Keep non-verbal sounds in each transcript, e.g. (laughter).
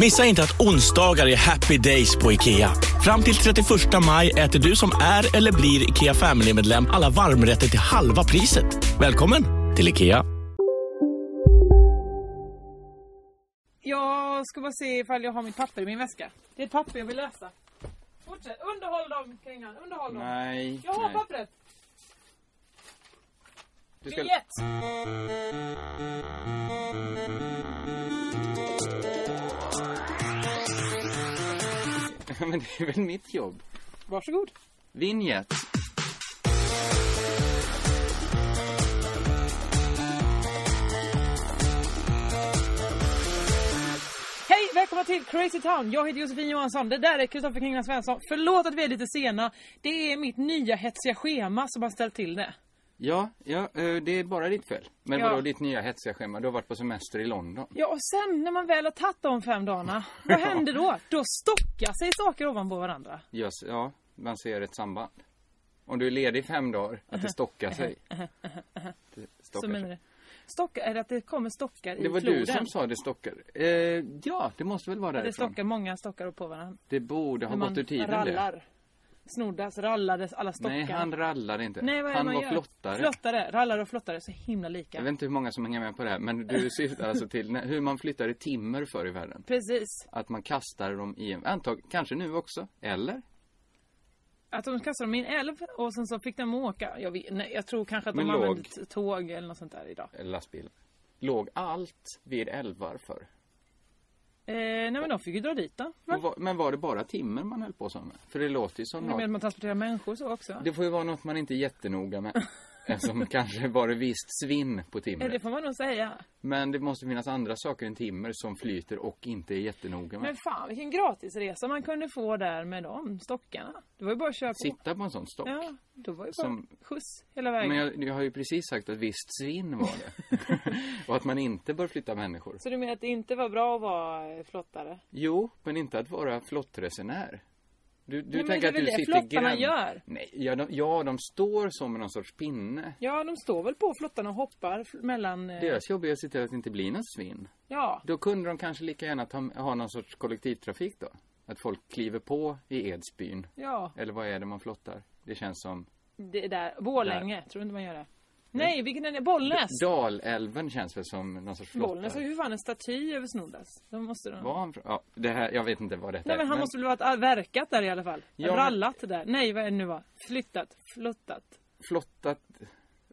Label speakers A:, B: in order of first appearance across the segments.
A: Missa inte att onsdagar är happy days på IKEA. Fram till 31 maj äter du som är eller blir IKEA Family-medlem alla varmrätter till halva priset. Välkommen till IKEA.
B: Jag ska bara se ifall jag har mitt papper i min väska. Det är ett papper jag vill läsa. Fortsätt. Underhåll dem, Kringlan. Underhåll dem.
C: Nej.
B: Jag har
C: nej.
B: pappret.
C: Du ska-
B: Biljett.
C: (laughs) Men det är väl mitt jobb.
B: Varsågod.
C: Vinjet.
B: Hej, välkomna till Crazy Town. Jag heter Josefin Johansson. Det där är Kristoffer Kringlan Svensson. Förlåt att vi är lite sena. Det är mitt nya hetsiga schema som har ställt till det.
C: Ja, ja, eh, det är bara ditt fel. Men
B: Ja.
C: vadå ditt nya hetsiga schema? Du har varit på semester i London.
B: Ja, och sen när man väl har tagit de fem dagarna, vad händer
C: (laughs)
B: då? Då stockar sig saker ovanpå varandra.
C: Yes, ja, man ser ett samband. Om du är ledig fem dagar, att det
B: (laughs)
C: stockar sig. Det
B: Så
C: stockar
B: menar du?
C: sig.
B: Stockar, är det att det kommer stockar i
C: Det var
B: floden?
C: du som sa det stockar. Eh, ja, det måste väl vara
B: Det
C: därifrån.
B: stockar, många stockar på varandra.
C: Det borde ha
B: När
C: gått ur tiden
B: rallar.
C: det.
B: Snoddas, rallades, alla stockar.
C: Nej, han rallade inte.
B: Nej, vad är det
C: han
B: man
C: var
B: gör?
C: flottare.
B: Flottare, rallare och flottare, så himla
C: Jag
B: lika.
C: vet inte hur många som hänger med på det här, men du syftar alltså till när, hur man flyttade timmer förr i världen.
B: Precis.
C: Att man kastar dem i en, antag, kanske nu också, eller?
B: Att de kastade dem i en älv och sen så fick de åka. Jag, vet, nej, jag tror kanske att de
C: Men låg.
B: använde t- tåg eller något sånt där idag.
C: Eller lastbil. Låg allt vid älvar förr.
B: Eh, nej men de fick ju dra dit då.
C: Men
B: Men,
C: var, men var det bara timmer man höll på som med? För det låter ju som
B: men att
C: något.
B: man transporterar människor så också.
C: Det får ju vara något man inte är jättenoga med.
B: (laughs)
C: Eftersom kanske var det visst svinn på
B: Eh, det
C: timret.
B: får man nog säga.
C: Men det måste finnas andra saker än timmer som flyter och inte är jättenoga
B: Men
C: med.
B: fan vilken gratisresa man kunde få där med de stockarna. Det var ju bara att köra på.
C: Sitta på en sån stock.
B: Ja, det var ju bara
C: Som-
B: skjuts hela vägen.
C: Men jag, jag har ju precis sagt att visst svinn var det.
B: (laughs)
C: (laughs) och att man inte bör flytta människor.
B: Så du menar att det inte var bra att vara eh, flottare?
C: Jo, men inte att vara flottresenär. Du, du
B: men det
C: tänker
B: är
C: att
B: väl
C: du
B: det
C: sitter
B: flottarna
C: grann-
B: gör.
C: Nej, ja de, ja, de står som med någon sorts pinne.
B: Ja, de står väl på flottarna och hoppar fl- mellan... eh,
C: Deras jobb är att se till att det inte blir något svinn.
B: Ja,
C: Då kunde de kanske lika gärna ta, ha någon sorts kollektivtrafik då. Att folk kliver på i Edsbyn.
B: ja.
C: Eller vad är det man flottar? Det känns som...
B: Det där. Borlänge, tror du inte man gör det? Nej, vilken är det? Bollnäs!
C: Dalälven känns väl som någon sorts
B: Bollnäs har
C: flottar.
B: ju för fan en staty över Snoddas. De måste de...
C: Var han från? Ja, det här, jag vet inte vad detta
B: Nej men han måste väl ha varit- äh, verkat där i alla fall?
C: Ja, men-
B: Rallat där? Nej vad är det nu var? Flyttat? Flottat?
C: Flottat...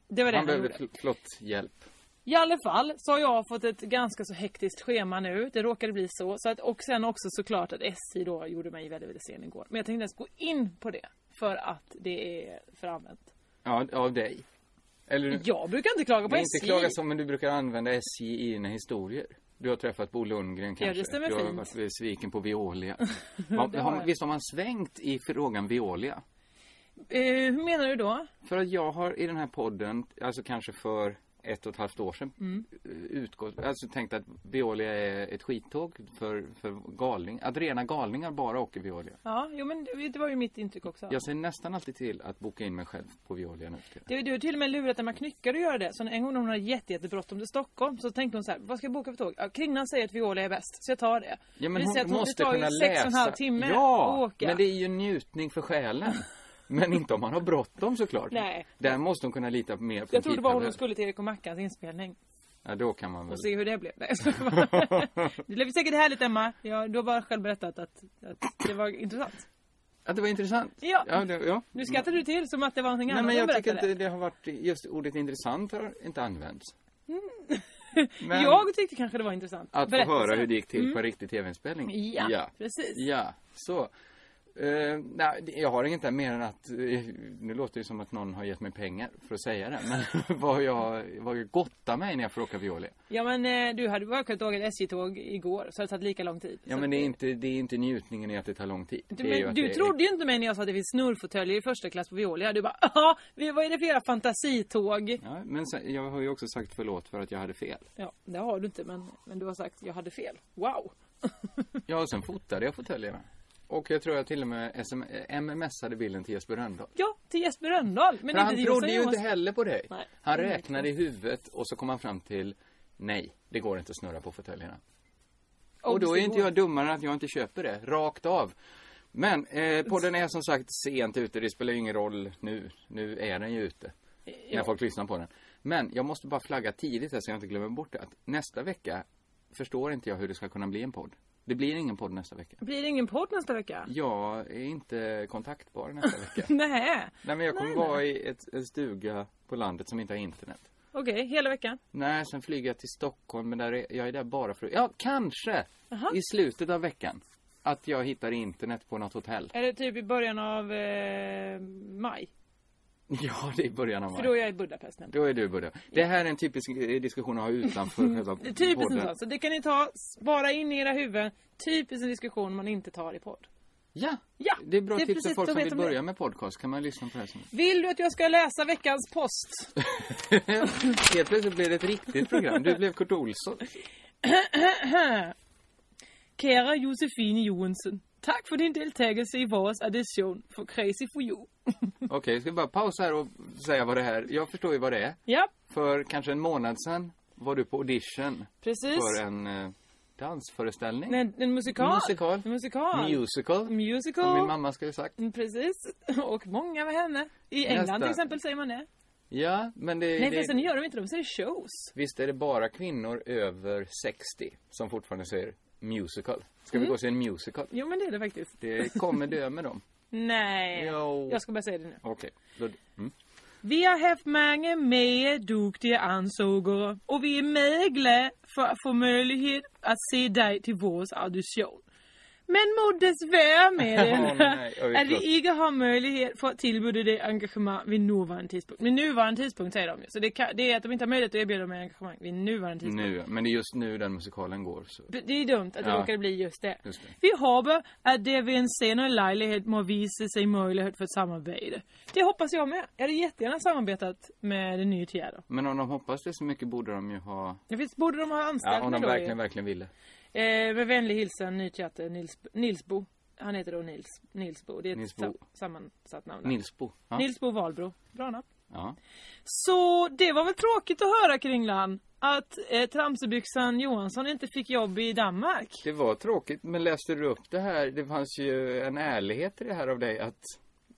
B: Det var det
C: Han
B: han
C: behöver
B: gjorde.
C: fl- flotthjälp.
B: I alla fall så har jag fått ett ganska så hektiskt schema nu. Det råkade bli så. så att, och sen också såklart att SJ då gjorde mig väldigt, väldigt sen igår. Men jag tänkte inte ens gå in på det. För att det är för använt.
C: Ja, av dig. Eller...
B: Jag brukar inte klaga på
C: Mm. Det är
B: SJ.
C: inte klaga som men du brukar använda SJ i dina historier. Du har träffat Bo Lundgren kanske.
B: det stämmer
C: du har
B: fint.
C: varit besviken
B: (laughs)
C: på Veolia. Man,
B: Det har
C: har,
B: jag.
C: visst har man svängt i frågan Veolia?
B: Eh, hur menar du då?
C: För att jag har i den här podden, alltså kanske för ett och ett halvt år sedan,
B: Mm.
C: eh, utgått, alltså tänkt att Veolia är ett skittåg för, för galning, att rena galningar bara åker Veolia.
B: Ja, jo men det det var ju mitt intryck också.
C: Jag ser nästan alltid till att boka in mig själv på Veolia nu för tiden.
B: Du, du har till och med lurat Emma Knyckare att göra det. Så en gång när hon hade jätte, jättebråttom till Stockholm så tänkte hon så här, vad ska jag boka för tåg? Ja, Kringlan säger att Viola är bäst, så jag tar det.
C: Ja, men
B: Det
C: hon
B: visar att
C: måste
B: det tar
C: kunna
B: ju sex och en halv
C: läsa.
B: timme
C: ja,
B: att åka.
C: men det är ju njutning för själen.
B: (laughs)
C: Men inte om man har bråttom såklart.
B: Nej.
C: Där måste hon kunna lita mer på
B: Jag trodde bara
C: tidtabell.
B: hon skulle till Erik och Mackans inspelning
C: Ja, då kan man väl.
B: och se hur det blev.
C: (laughs)
B: Nej, jag skojar bara. Det blev säkert härligt Emma. Ja, du har bara själv berättat att, att det var intressant.
C: Ja, det var intressant.
B: Ja.
C: ja, det, ja.
B: Nu skrattar du till som att det var någonting
C: Nej,
B: annat
C: men
B: hon
C: jag tycker
B: berättade.
C: inte det har varit, just ordet intressant har inte använts. Men
B: Jag tyckte kanske det var intressant.
C: att få
B: Berättelsen. Mm.
C: höra hur det gick till på en riktig tv-inspelning.
B: Ja,
C: ja.
B: precis.
C: Ja, så. Eh, nej, det- jag har inget där mer än att, eh, nu låter det som att någon har gett mig pengar för att säga det, men (laughs) vad jag, vad jag gottar mig när jag får åka Viola.
B: Ja men eh, du hade bara kunnat åka ett SJ-tåg igår så det tagit lika lång tid.
C: Ja
B: Så
C: men det är
B: att-
C: inte, det är inte njutningen i att det tar lång tid.
B: Du,
C: det är ju
B: men,
C: att
B: du
C: det,
B: trodde ju inte mig när jag sa att det finns snurrfåtöljer i första klass på Veolia. Du bara ja, vi- vad är det för era fantasitåg?
C: Ja, men sen, jag har ju också sagt förlåt för att jag hade fel.
B: Ja, det har du inte men, men du har sagt jag hade fel. Wow!
C: Ja, och sen fotade jag fåtöljerna. Och jag tror jag till och med SM, eh, mmsade bilden till Jesper Rönndahl.
B: Ja, till Jesper Rönndahl. Men
C: För han
B: inte till
C: trodde
B: Jossan
C: ju inte
B: Johansson.
C: heller på dig.
B: Nej.
C: Han räknade i huvudet och så kom han fram till nej, det går inte att snurra på fåtöljerna. Och då är inte jag dummare än att jag inte köper det, rakt av. Men eh, podden är som sagt sent ute, det spelar ju ingen roll nu. Nu är den ju
B: Eh,
C: ute. När folk lyssnar på den. Men jag måste bara flagga tidigt här så jag inte glömmer bort det. Att nästa vecka förstår inte jag hur det ska kunna bli en podd. Det blir ingen podd nästa vecka.
B: Blir det ingen podd nästa vecka?
C: Jag är inte kontaktbar nästa vecka.
B: Nej.
C: Nej men jag kommer
B: Nej,
C: vara i ett, en stuga på landet som inte har internet.
B: Okej, hela veckan.
C: Nej, sen flyger jag till Stockholm, men där är, jag är där bara för Ja, kanske! I slutet av veckan. Att jag hittar internet på något hotell. (laughs)
B: Eller typ i början av eh, maj.
C: Ja, det är i början av
B: För då
C: maj.
B: är jag i Budapest nämligen.
C: Då är du början. Det här är en typisk eh, diskussion att ha utanför själva
B: Det är Mm. (laughs) Typiskt en
C: podden.
B: sån. Så det kan ni ta, spara in i era huvuden. Typiskt en diskussion man inte tar i podd.
C: Ja!
B: Ja,
C: Det är bra
B: det är
C: tips till
B: precis,
C: folk
B: då
C: som
B: vet
C: vill
B: de det.
C: börja med podcast. Kan man lyssna på det här sen?
B: Vill du att jag ska läsa veckans post?
C: (laughs) Helt plötsligt blev det ett riktigt program. Du blev Kurt Olsson.
B: Kära Josefine Johansson. Tack för din deltagelse i våras addition för Crazy for you.
C: Okej, ska vi bara pausa här och säga vad det här... Jag förstår ju vad det är.
B: ja,
C: För kanske en månad sedan var du på audition
B: precis.
C: för en eh, dansföreställning.
B: Nej, en musikal.
C: Musikal.
B: En musikal.
C: Musical.
B: Musical.
C: Som min mamma skulle ha sagt.
B: Mm, Precis. (laughs) Och många med henne. I England
C: Nästa.
B: till exempel säger man det.
C: Ja, men det...
B: Nej
C: det
B: förresten, det gör de inte. De säger shows.
C: Visst är det bara kvinnor över 60 som fortfarande säger musical? Ska
B: Mm.
C: vi gå och se en musical?
B: Jo men det är det faktiskt.
C: Det kommer dö med dem.
B: Nej.
C: Jo.
B: Jag ska bara säga det nu.
C: Okej. då- Mm.
B: Vi har haft många mer duktiga ansökare och vi är mycket glada för att få möjlighet att se dig till vår audition. Men må dessvärre
C: (laughs)
B: med
C: Åh, nej. Oj,
B: det att
C: förlåt.
B: vi inte har möjlighet för att tillbjuda dig engagemang vid nuvarande tidpunkt. Vid nuvarande tidpunkt säger de ju. Så det, kan, det är att de inte har möjlighet att erbjuda mig engagemang vid nuvarande tidpunkt.
C: Nu, men det är just nu den musikalen går. Så.
B: B- Det är dumt att det
C: Ja.
B: råkade bli just det.
C: Just det.
B: Vi hoppas att det vid en senare lejlighet må visa sig möjlighet för ett samarbete. Det hoppas jag med. Jag hade jättegärna samarbetat med den nya Tierra.
C: Men om de hoppas det så mycket borde de ju ha...
B: Det finns, borde de ha anställt
C: Ja, om
B: mig
C: de
B: då
C: verkligen,
B: ju.
C: verkligen ville.
B: eh, Med vänlig hilsen nyteater Nils, Nilsbo. Han heter då Nils, Nilsbo. Det är ett
C: Nilsbo.
B: sa- sammansatt namn. där.
C: Nilsbo. Ja.
B: Nilsbo Valbro. Bra namn.
C: ja.
B: Så det var väl tråkigt att höra Kringlan. Att eh, tramsebyxan Johansson inte fick jobb i Danmark.
C: Det var tråkigt, men läste du upp det här? Det fanns ju en ärlighet i det här av dig att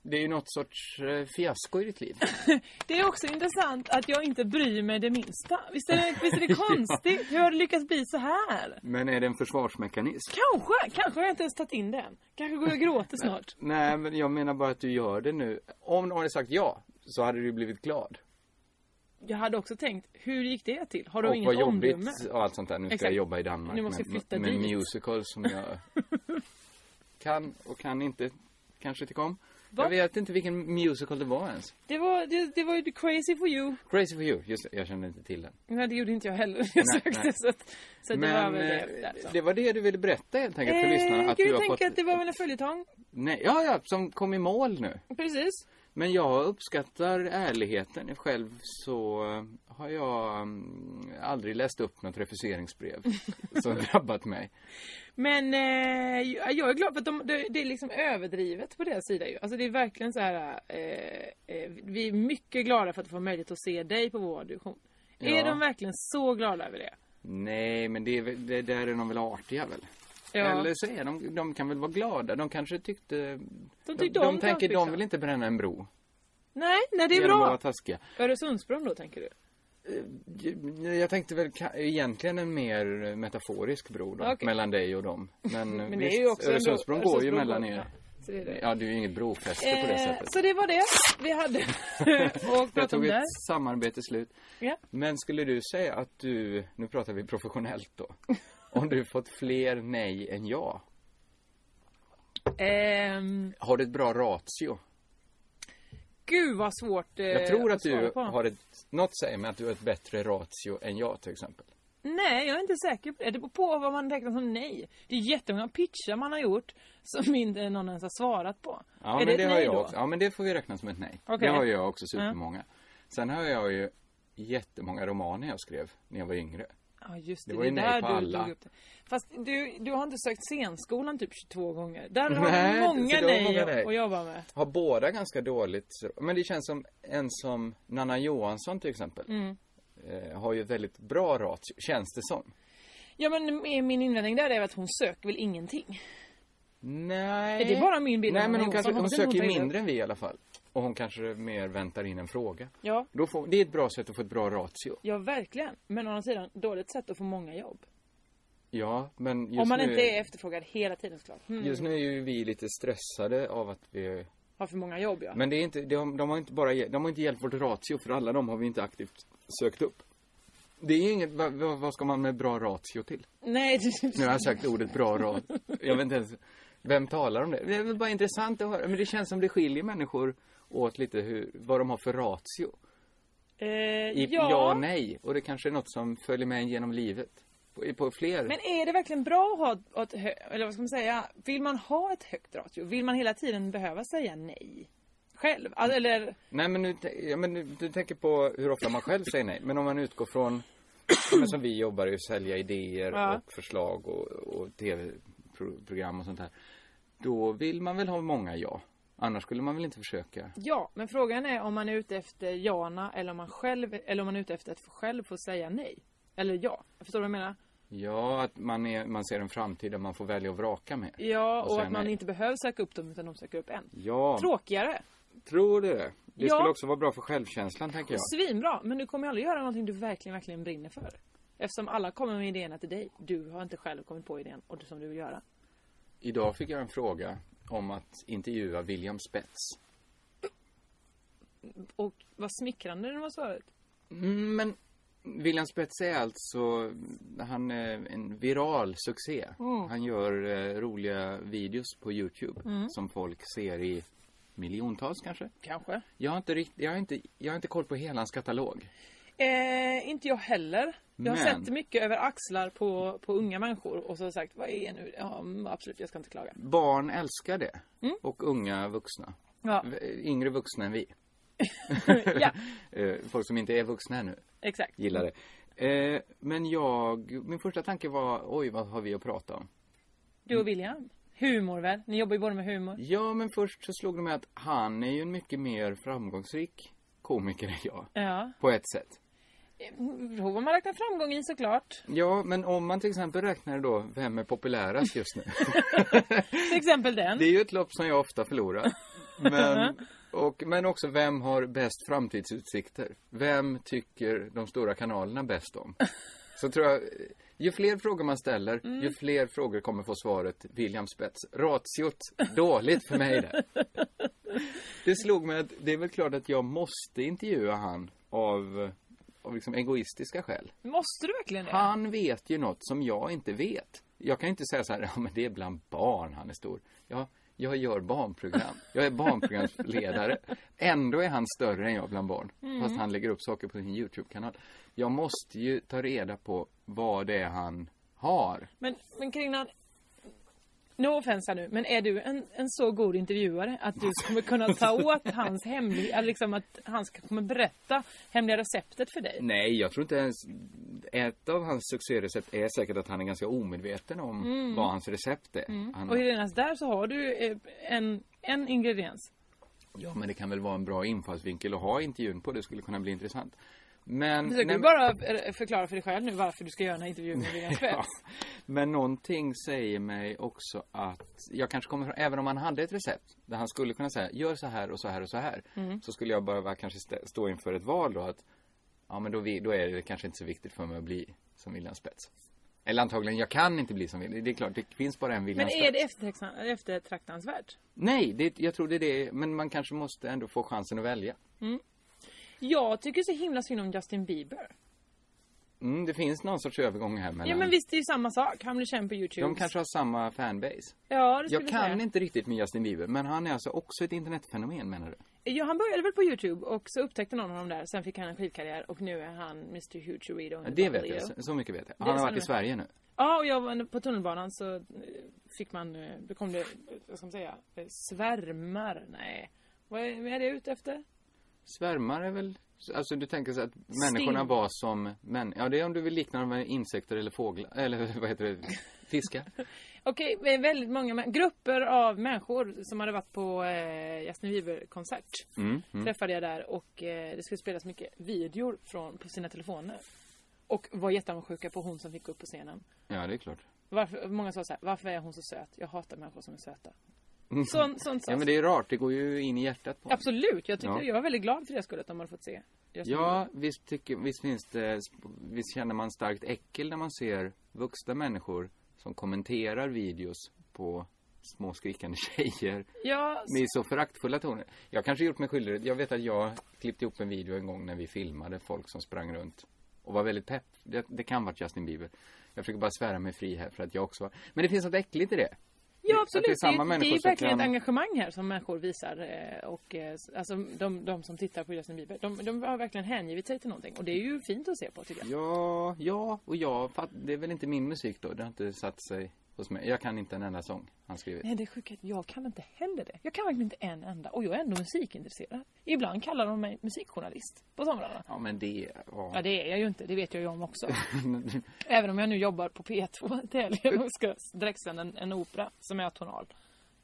C: det är ju något sorts eh, fiasko i ditt liv.
B: Det är också intressant att jag inte bryr mig det minsta. Visst är det, visst
C: (laughs)
B: är det konstigt? Hur har det lyckats bli så här?
C: Men är det en försvarsmekanism?
B: Kanske, kanske har jag inte ens tagit in den. Kanske går jag och gråter snart.
C: Nej, men jag menar bara att du gör det nu. Om någon hade sagt ja, så hade du blivit glad.
B: Jag hade också tänkt, hur gick det till? Har du
C: och vad
B: inget
C: jobbigt
B: omdöme?
C: och allt sånt där. Nu ska
B: Exakt.
C: jag jobba i Danmark
B: Nu måste jag
C: med,
B: flytta
C: med
B: dit.
C: musical som
B: (laughs)
C: jag kan och kan inte kanske tycka om.
B: Va?
C: Jag vet inte vilken musical det var ens.
B: Det var, det, det var ju crazy for you.
C: Crazy for you, just det, jag kände inte till den.
B: Nej, det gjorde inte jag heller. (laughs) Jag
C: Nej,
B: sökte
C: nej.
B: så att, så att det var väl
C: eh,
B: det. Där, så.
C: det var det du ville berätta helt enkelt för lyssnarna.
B: Eh,
C: Att
B: kan du
C: du har
B: tänka
C: fått...
B: att det var väl en följetong?
C: Nej, ja, ja, som kom i mål nu.
B: Precis.
C: Men jag uppskattar ärligheten. Själv så eh, har jag mm, aldrig läst upp
B: (laughs)
C: något refuseringsbrev som drabbat mig.
B: Men eh, jag jag är glad för att de, det, det är liksom överdrivet på deras sida ju. Alltså det är verkligen så här. Eh, eh, vi är mycket glada för att få möjlighet att se dig på vår audition. Är
C: Ja.
B: de verkligen så glada över det?
C: Nej, men det, är väl- det där är de väl artiga väl?
B: Ja.
C: Eller så är de, de kan väl vara glada. De kanske tyckte...
B: De tyckte
C: de,
B: om
C: tänker, de
B: Transfiction.
C: vill inte bränna en bro.
B: Nej, nej det är
C: genom att vara
B: bra.
C: taskiga.
B: Öresundsbron då tänker du?
C: Eh, Jag tänkte väl ka- egentligen en mer metaforisk bro då,
B: Okej.
C: mellan dig och dem.
B: (laughs)
C: Men,
B: Men det
C: visst,
B: är ju också en bro-
C: Öresundsbron går ju
B: Öresundsbron
C: mellan
B: går-
C: er.
B: Så det är det.
C: Ja, det är ju inget brofäste på det
B: Eh,
C: sättet.
B: så det var det vi hade (laughs) och
C: (laughs) Jag
B: prata om
C: tog
B: där.
C: ett samarbete slut.
B: Ja.
C: Men skulle du säga att du, nu pratar vi professionellt
B: (laughs)
C: då, om du fått fler nej än ja?
B: Ehm,
C: Har du ett bra ratio?
B: gud vad svårt eh,
C: Jag tror att
B: svara
C: du
B: på.
C: har ett, något säger mig att du har ett bättre ratio än jag till exempel.
B: Nej, jag är inte säker på det. Det beror på vad man räknar som nej. Det är jättemånga pitchar man har gjort som inte någon ens har svarat på.
C: Ja,
B: är
C: men
B: det
C: det,
B: ett
C: har
B: nej
C: jag
B: då?
C: också. Ja, men det får vi räkna som ett nej.
B: Okej.
C: Det har jag också supermånga. Sen har jag ju jättemånga romaner jag skrev när jag var yngre.
B: Ja, just det.
C: Det
B: Det,
C: var
B: är
C: ju nej
B: där
C: på
B: du
C: alla.
B: tog upp det. Fast du, du har inte sökt scenskolan typ 22 gånger. Där har
C: Nej,
B: du många
C: så det var många
B: nej
C: nej.
B: att jobba med.
C: Har båda ganska dåligt. Men det känns som en som Nanna Johansson till exempel.
B: Mm.
C: Eh, har ju ett väldigt bra ratio, känns det som.
B: Ja, men min invändning där är att hon söker väl ingenting.
C: Nej.
B: Är det bara min bild av
C: Nej, men
B: Nanna
C: hon, kanske,
B: Johansson? Hoppas
C: hon
B: inte hon
C: söker ju
B: tar illa upp.
C: mindre än vi i alla fall. Och hon kanske mer väntar in en fråga.
B: Ja.
C: Då får, det är ett bra sätt att få ett bra ratio.
B: Ja, verkligen. Men å andra sidan, dåligt sätt att få många jobb.
C: Ja, men just
B: Om man
C: nu...
B: inte är efterfrågad hela tiden såklart. Mm.
C: Just nu är ju vi lite stressade av att vi...
B: Har för många jobb ja.
C: Men det är inte, de, de har inte bara, ge- de har inte hjälpt vårt ratio för alla de har vi inte aktivt sökt upp. Det är ju inget, vad, vad vad ska man med bra ratio till?
B: Nej, (laughs) det,
C: Nu har jag sagt ordet bra ratio. Jag vet inte ens, vem talar om det? Det är väl bara intressant att höra. Men det känns som det skiljer människor åt lite hur, vad de har för ratio.
B: eh,
C: I
B: ja.
C: ja och nej. Och det kanske är något som följer med en genom livet. På, på fler.
B: Men är det verkligen bra att ha ett hö- eller vad ska man säga, vill man ha ett högt ratio? Vill man hela tiden behöva säga nej? Själv? Alltså, eller,
C: Nej men, nu, ja, men nu, du tänker på hur ofta man själv säger nej. Men om man utgår från, ja, men som vi jobbar ju, sälja idéer
B: Ja.
C: och förslag och, och tv-program och sånt här. Då vill man väl ha många ja. Annars skulle man väl inte försöka.
B: ja, men frågan är om man är ute efter jana eller om man själv, eller om man är ute efter att få- själv få säga nej. Eller ja. Förstår du vad jag menar?
C: Ja, att man, är, man ser en framtid där man får välja och vraka med.
B: Ja, och,
C: säga
B: att man
C: nej.
B: inte behöver söka upp dem utan de söker upp en.
C: Ja,
B: Tråkigare.
C: tror du det? Det
B: Ja.
C: skulle också vara bra för självkänslan tänker jag.
B: Svinbra, men du kommer ju aldrig göra någonting du verkligen, verkligen brinner för. Eftersom alla kommer med idéerna till dig. Du har inte själv kommit på idén och det som du vill göra.
C: Idag fick jag en fråga om att intervjua William Spets.
B: Och vad smickrande det var svaret.
C: Mm, men William Spets är alltså, han är en viral succé. Han gör eh, roliga videos på Youtube som folk ser i miljontals kanske.
B: Kanske.
C: Jag har inte riktigt, jag har inte, jag har inte koll på hela hans katalog.
B: Eh, inte jag heller. Jag har
C: Men-
B: sett mycket över axlar på, på unga människor och så har jag sagt, vad är nu? Ja, mm, absolut, jag ska inte klaga.
C: Barn älskar det. Och unga vuxna. (laughs)
B: Ja,
C: V- Yngre vuxna än vi.
B: ja
C: Eh, Folk som inte är vuxna ännu
B: exakt.
C: gillar det. Eh, Men jag, min första tanke var, oj vad har vi att prata om?
B: Du och William. Humor väl? Ni jobbar ju båda med humor.
C: Ja, men först så slog det mig att han är ju en mycket mer framgångsrik komiker än jag.
B: Ja.
C: På ett sätt.
B: Det beror på vad man räknar framgång i såklart.
C: Ja, men om man till exempel räknar då, vem är populärast just nu?
B: Till exempel den.
C: det är ju ett lopp som jag ofta förlorar. Men, och, men också, vem har bäst framtidsutsikter? Vem tycker de stora kanalerna bäst om? Så tror jag, ju fler frågor man ställer, ju fler frågor kommer få svaret William Spets. Ratiot, dåligt för mig det. Det slog mig att det är väl klart att jag måste intervjua han av, av liksom egoistiska skäl.
B: Måste du verkligen det?
C: Han vet ju något som jag inte vet. Jag kan inte säga så här, (laughs) ja men det är bland barn han är stor. Ja, jag gör barnprogram. Jag är barnprogramsledare. Ändå är han större än jag bland barn. Fast han lägger upp saker på sin YouTube-kanal. Jag måste ju ta reda på vad det är han har.
B: Men, men Kringlan, no offense här nu, men är du en, en så god intervjuare att du kommer kunna
C: (laughs)
B: ta åt hans hemliga, liksom att han ska- kommer berätta hemliga receptet för dig?
C: Nej, jag tror inte ens... Ett av hans succérecept är säkert att han är ganska omedveten om vad hans recept är. Han,
B: Och redan där så har du eh, en, en ingrediens.
C: Ja, men det kan väl vara en bra infallsvinkel att ha intervjun på. Det skulle kunna bli intressant. Men...
B: Försöker
C: nej,
B: du
C: men-
B: bara eh, förklara för dig själv nu varför du ska göra den här intervjun med
C: (laughs)
B: William
C: Ja.
B: Spets?
C: Men någonting säger mig också att jag kanske kommer, även om han hade ett recept där han skulle kunna säga gör så här och så här och så här.
B: Mm.
C: Så skulle jag behöva kanske stä- stå inför ett val då att ja men då, vi, då är det kanske inte så viktigt för mig att bli som William Spets. Eller antagligen, jag kan inte bli som Willy. Det är klart, det finns bara en Willy
B: Men
C: Hallsberg.
B: är det eftertraktan- eftertraktansvärt?
C: Nej, det, jag tror det är det. Men man kanske måste ändå få chansen att välja.
B: Jag tycker så himla synd om Justin Bieber.
C: Mm, det finns någon sorts övergång här mellan.
B: Ja men visst, det är ju samma sak. Han blir känd på YouTube.
C: De kanske har samma fanbase.
B: Ja, det skulle
C: Jag kan
B: säga.
C: inte riktigt med Justin Bieber, men han är alltså också ett internetfenomen menar du?
B: Ja, han började väl på YouTube och så upptäckte någon honom där. Sen fick han en skivkarriär och nu är han Mr Huge Reader.
C: Ja, det vet jag, så- så mycket vet jag. Han har
B: stämmer.
C: varit i Sverige nu.
B: E. Ja, och jag var på tunnelbanan så eh, fick man, eh, då kom det, eh, vad ska man säga, eh, svärmar. Nej, vad är, vad är det ute efter?
C: Svärmar är väl, alltså du tänker så att människorna var som män, ja det är om du vill likna dem med insekter eller fåglar, eller (laughs) vad heter det, fiskar.
B: Okej, eh, väldigt många mä- grupper av människor som hade varit på eh, Justin Bieber-konsert
C: Mm,
B: träffade jag där och eh, det skulle spelas mycket videor från, på sina telefoner. Och var jätteavundsjuka på hon som fick gå upp på scenen.
C: Ja det är klart.
B: Varför, många sa så här, varför är hon så söt? Jag hatar människor som är söta. Sånt, sånt sades.
C: Ja men det är rart, det går ju in i hjärtat på en.
B: Absolut, jag, tyckte,
C: Ja.
B: jag var väldigt glad för det skull att de hade fått se. Justin Bieber.
C: Ja, visst, tycker, visst finns det, visst känner man starkt äckel när man ser vuxna människor som kommenterar videos på små skrikande (laughs) tjejer
B: ja
C: med så föraktfulla toner. Jag kanske gjort mig skyldig, jag vet att jag klippte ihop en video en gång när vi filmade folk som sprang runt och var väldigt pepp. Det, det kan varit Justin Bieber. Jag försöker bara svära mig fri här för att jag också var. Men det finns något äckligt i det.
B: Ja
C: Att det är
B: absolut, det
C: samma
B: är, det är
C: människor
B: ju
C: som
B: verkligen
C: kan-
B: ett engagemang här som människor visar. eh, Och, eh, s- alltså, de, de som tittar på Justin Bieber, de, de har verkligen hängivit sig till någonting. Och det är ju fint att se på tycker jag.
C: Ja, ja, och jag fatt, det är väl inte min musik då. Det har inte satt sig hos mig. Jag kan inte en enda sång han skrivit.
B: Nej det är sjukt, att jag kan inte heller det. Jag kan verkligen inte en enda. Och jag är ändå musikintresserad. Ibland kallar de mig musikjournalist på somrarna.
C: Ja, men det, ja. (laughs)
B: Ja det är jag ju inte, det vet jag ju om (laughs) också. Även om jag nu jobbar på P2 till helgen och ska direktsända en, en opera som är atonal.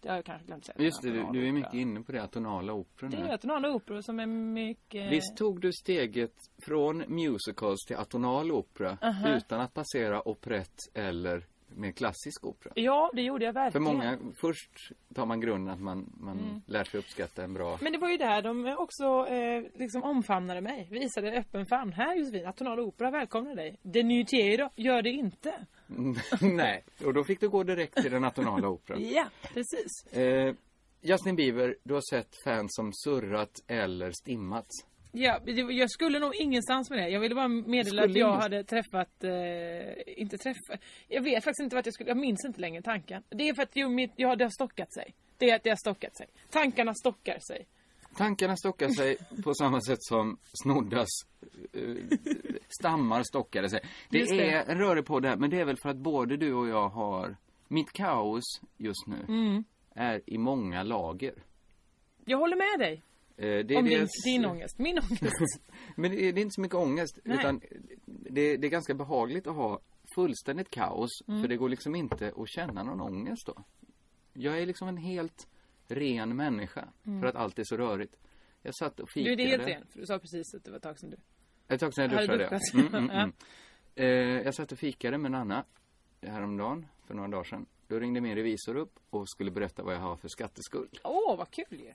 B: Det har jag kanske glömt säga.
C: Just det, du,
B: Atonal
C: du är
B: opera.
C: mycket inne på det atonala operan.
B: Det
C: här.
B: är atonala operor som är mycket...
C: Visst tog du steget från musicals till atonal opera utan att passera operett eller mer klassisk opera?
B: Ja, det gjorde jag
C: För
B: verkligen.
C: många, först tar man grunden att man, man lär sig uppskatta en bra...
B: Mm. Men det var ju där de också eh, liksom omfamnade mig. Visade öppen famn. Här Josefin, Atonal Opera välkomnar dig. Det nytiero, gör det inte.
C: (laughs) Nej, och då fick du gå direkt till den atonala operan.
B: (laughs) Ja, precis.
C: eh, Justin Bieber, du har sett fans som surrat eller stimmat.
B: Ja, det- jag skulle nog ingenstans med det. Jag ville bara meddela
C: Skulle
B: att jag
C: ingenstans.
B: hade träffat... Eh, inte träffat... Jag vet faktiskt inte vart jag skulle... Jag minns inte längre tanken. Det är för att jag, mitt, ja, det har stockat sig. Det är att det har stockat sig. Tankarna stockar sig.
C: Tankarna stockar sig på samma sätt som snoddas eh, stammar stockade sig. Det,
B: Just det.
C: är en rörig podd här, men det är väl för att både du och jag har... Mitt kaos just nu
B: Mm.
C: är i många lager.
B: Jag håller med dig
C: Eh, det är
B: om din,
C: dels-
B: din ångest. Min ångest.
C: Men det är, det är inte så mycket ångest,
B: Nej.
C: utan det, det är ganska behagligt att ha fullständigt kaos,
B: Mm.
C: för det går liksom inte att känna någon ångest då. Jag är liksom en helt ren människa, för att allt är så rörigt. Jag satt och
B: Mm. Du
C: fikade.
B: är det helt ren, för du sa precis att det var ett tag sedan du...
C: Ett tag sedan jag
B: Hade
C: duschade.
B: duschat.
C: ja.
B: (laughs)
C: Mm, mm, mm. Eh, jag satt och fikade med Anna häromdagen, för några dagar sedan. Då ringde min revisor upp och skulle berätta vad jag har för skatteskuld.
B: Åh, vad kul ju!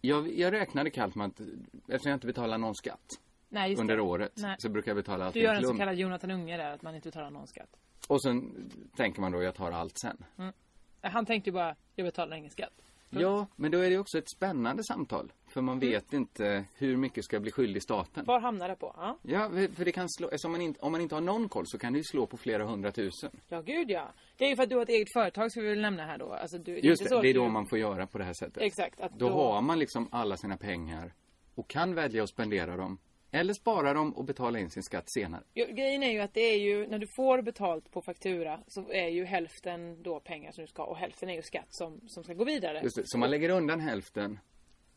C: Jag, jag räknade kallt med att, eftersom jag inte betalar någon skatt
B: Nej, just
C: under
B: det.
C: året,
B: Nej.
C: så brukar jag betala allt
B: Du
C: i en
B: gör en så
C: klump.
B: kallad Jonathan Unge där, att man inte betalar någon skatt.
C: Och sen tänker man då, jag tar allt sen.
B: Mm. Han tänkte ju bara, jag betalar ingen skatt.
C: Ja, men då är det också ett spännande samtal. För man
B: Mm.
C: vet inte hur mycket ska bli skyldig staten.
B: Var hamnar det på? Ja,
C: Ja, för det kan slå, eftersom man inte, om man inte har någon koll så kan det ju slå på flera hundratusen.
B: ja gud ja. Det är ju för att du har ett eget företag ska vi väl nämna här då. Alltså, du, är
C: Just
B: inte så
C: det,
B: att
C: det är
B: du-
C: då man får göra på det här sättet.
B: Exakt, att
C: Då
B: då-
C: har man liksom alla sina pengar och kan välja att spendera dem. Eller spara dem och betala in sin skatt senare.
B: Ja, Grejen är ju att det är ju, när du får betalt på faktura så är ju hälften då pengar som du ska och hälften är ju skatt som, som ska gå vidare.
C: Just det, så man lägger undan hälften